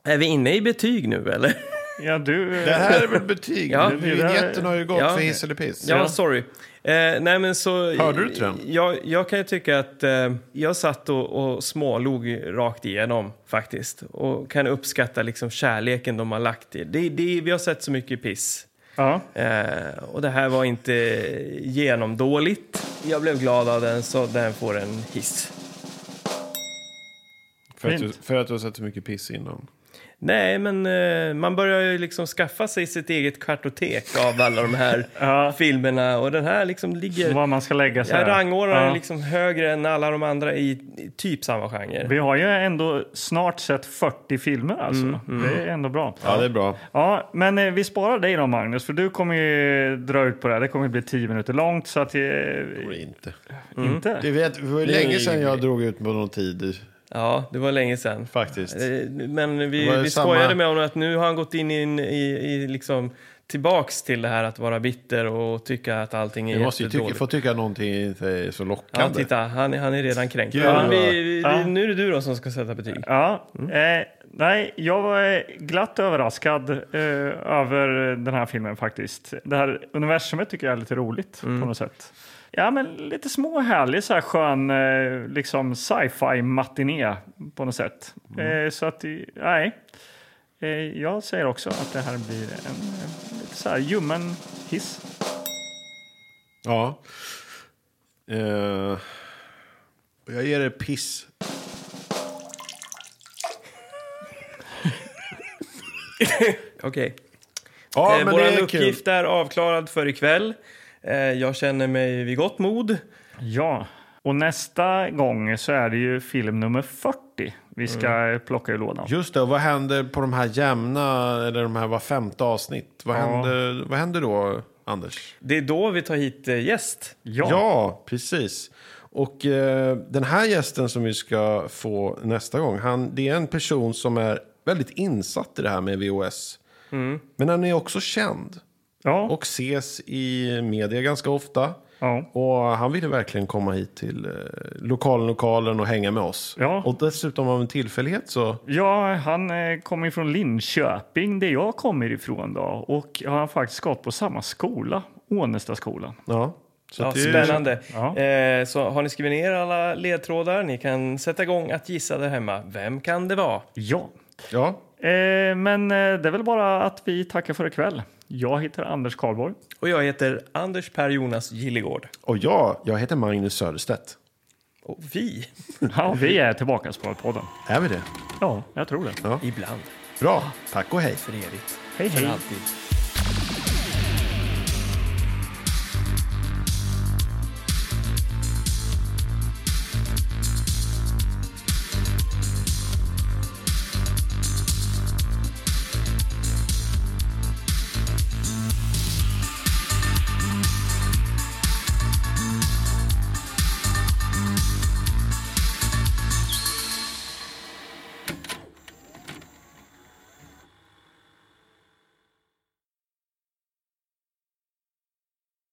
är vi inne i betyg nu eller? Ja, du, Det här är väl betyg? Ja. Ja, Vinjetten har ju gått Ja. för hiss eller piss. Ja, sorry. Eh, nej, men så, Hörde du inte den? Jag, jag kan ju tycka att eh, jag satt och, och smålog rakt igenom faktiskt och kan uppskatta liksom kärleken de har lagt i det. det vi har sett så mycket piss. ja. Eh, och det här var inte genomdåligt. Jag blev glad av den, så den får en hiss. För, att du, Fint. för att du har sett så mycket piss innan. Nej, men eh, man börjar ju liksom skaffa sig sitt eget kartotek av alla de här Ja. filmerna. Och den här liksom ligger... Var man ska lägga sig. Jag rangordnar Ja. den liksom högre än alla de andra i i typ samma genre. Vi har ju ändå snart sett 40 filmer alltså. Det är ändå bra. Ja, det är bra. Ja, men eh, vi sparar dig då Magnus, för du kommer ju dra ut på det här. Det kommer bli 10 minuter långt så att... Eh, Det är inte. Inte? Du vet, det var ju länge sedan jag drog ut på någon tid Ja, det var länge sedan. faktiskt. Eh, Men Det var vi, ju vi samma- skojade med honom att nu har han gått in i, en- i, i liksom tillbaks till det här att vara bitter och tycka att allting är Vi måste ju tycka, jättedåligt. få tycka någonting inte är så Ja, lockande. titta, han, är- han är redan kränkt. Gud, Ja, vad- vi, vi, Ja. Nu är det du då som ska sätta betyg. Ja, eh, nej, jag var eh, glatt överraskad eh, över den här filmen faktiskt. Det här universumet tycker jag är lite roligt på något sätt. Ja, men lite små härlig så här skön eh, liksom sci-fi matiné på något sätt. Eh, så att, eh, nej. Eh, jag säger också att det här blir en eh, lite så här ljummen hiss. Ja. Eh, och jag ger det piss. Okej. Ja, eh, men Vår det är uppgift kul. är avklarad för ikväll. Eh, jag känner mig vid gott mod. Ja, och nästa gång så är det ju film nummer 40 vi ska eh, plocka ur lådan. Just det, och vad händer på de här jämna, eller de här var femte avsnitt? Vad, händer, vad händer då, Anders? Det är då vi tar hit eh, gäst. Ja, precis. Och eh, den här gästen som vi ska få nästa gång, han, det är en person som är väldigt insatt i det här med VOS. Men han är också känd ja. och ses i media ganska ofta. Ja. Och han ville verkligen komma hit till eh, lokalen, lokalen och hänga med oss. Ja. Och dessutom av en tillfällighet så... Ja, han eh, kommer ju från Linköping, där jag kommer ifrån. Då. Och han har faktiskt gått på samma skola, Ånestaskolan. Ja, så Ja, att det är- spännande. Ja. Eh, så har ni skrivit ner alla ledtrådar? Ni kan sätta igång att gissa där hemma. Vem kan det vara? Ja. Ja, Eh, men eh, det är väl bara att vi tackar för ikväll. Jag heter Anders Karlborg. Och jag heter Anders Per Jonas Gillegård. och jag, jag heter Magnus Söderstedt. Och vi, Ja, vi är tillbaka på podden. Är vi det? Ja, jag tror det. ibland, Bra, tack och hej. för evigt, Hej, för hej. alltid,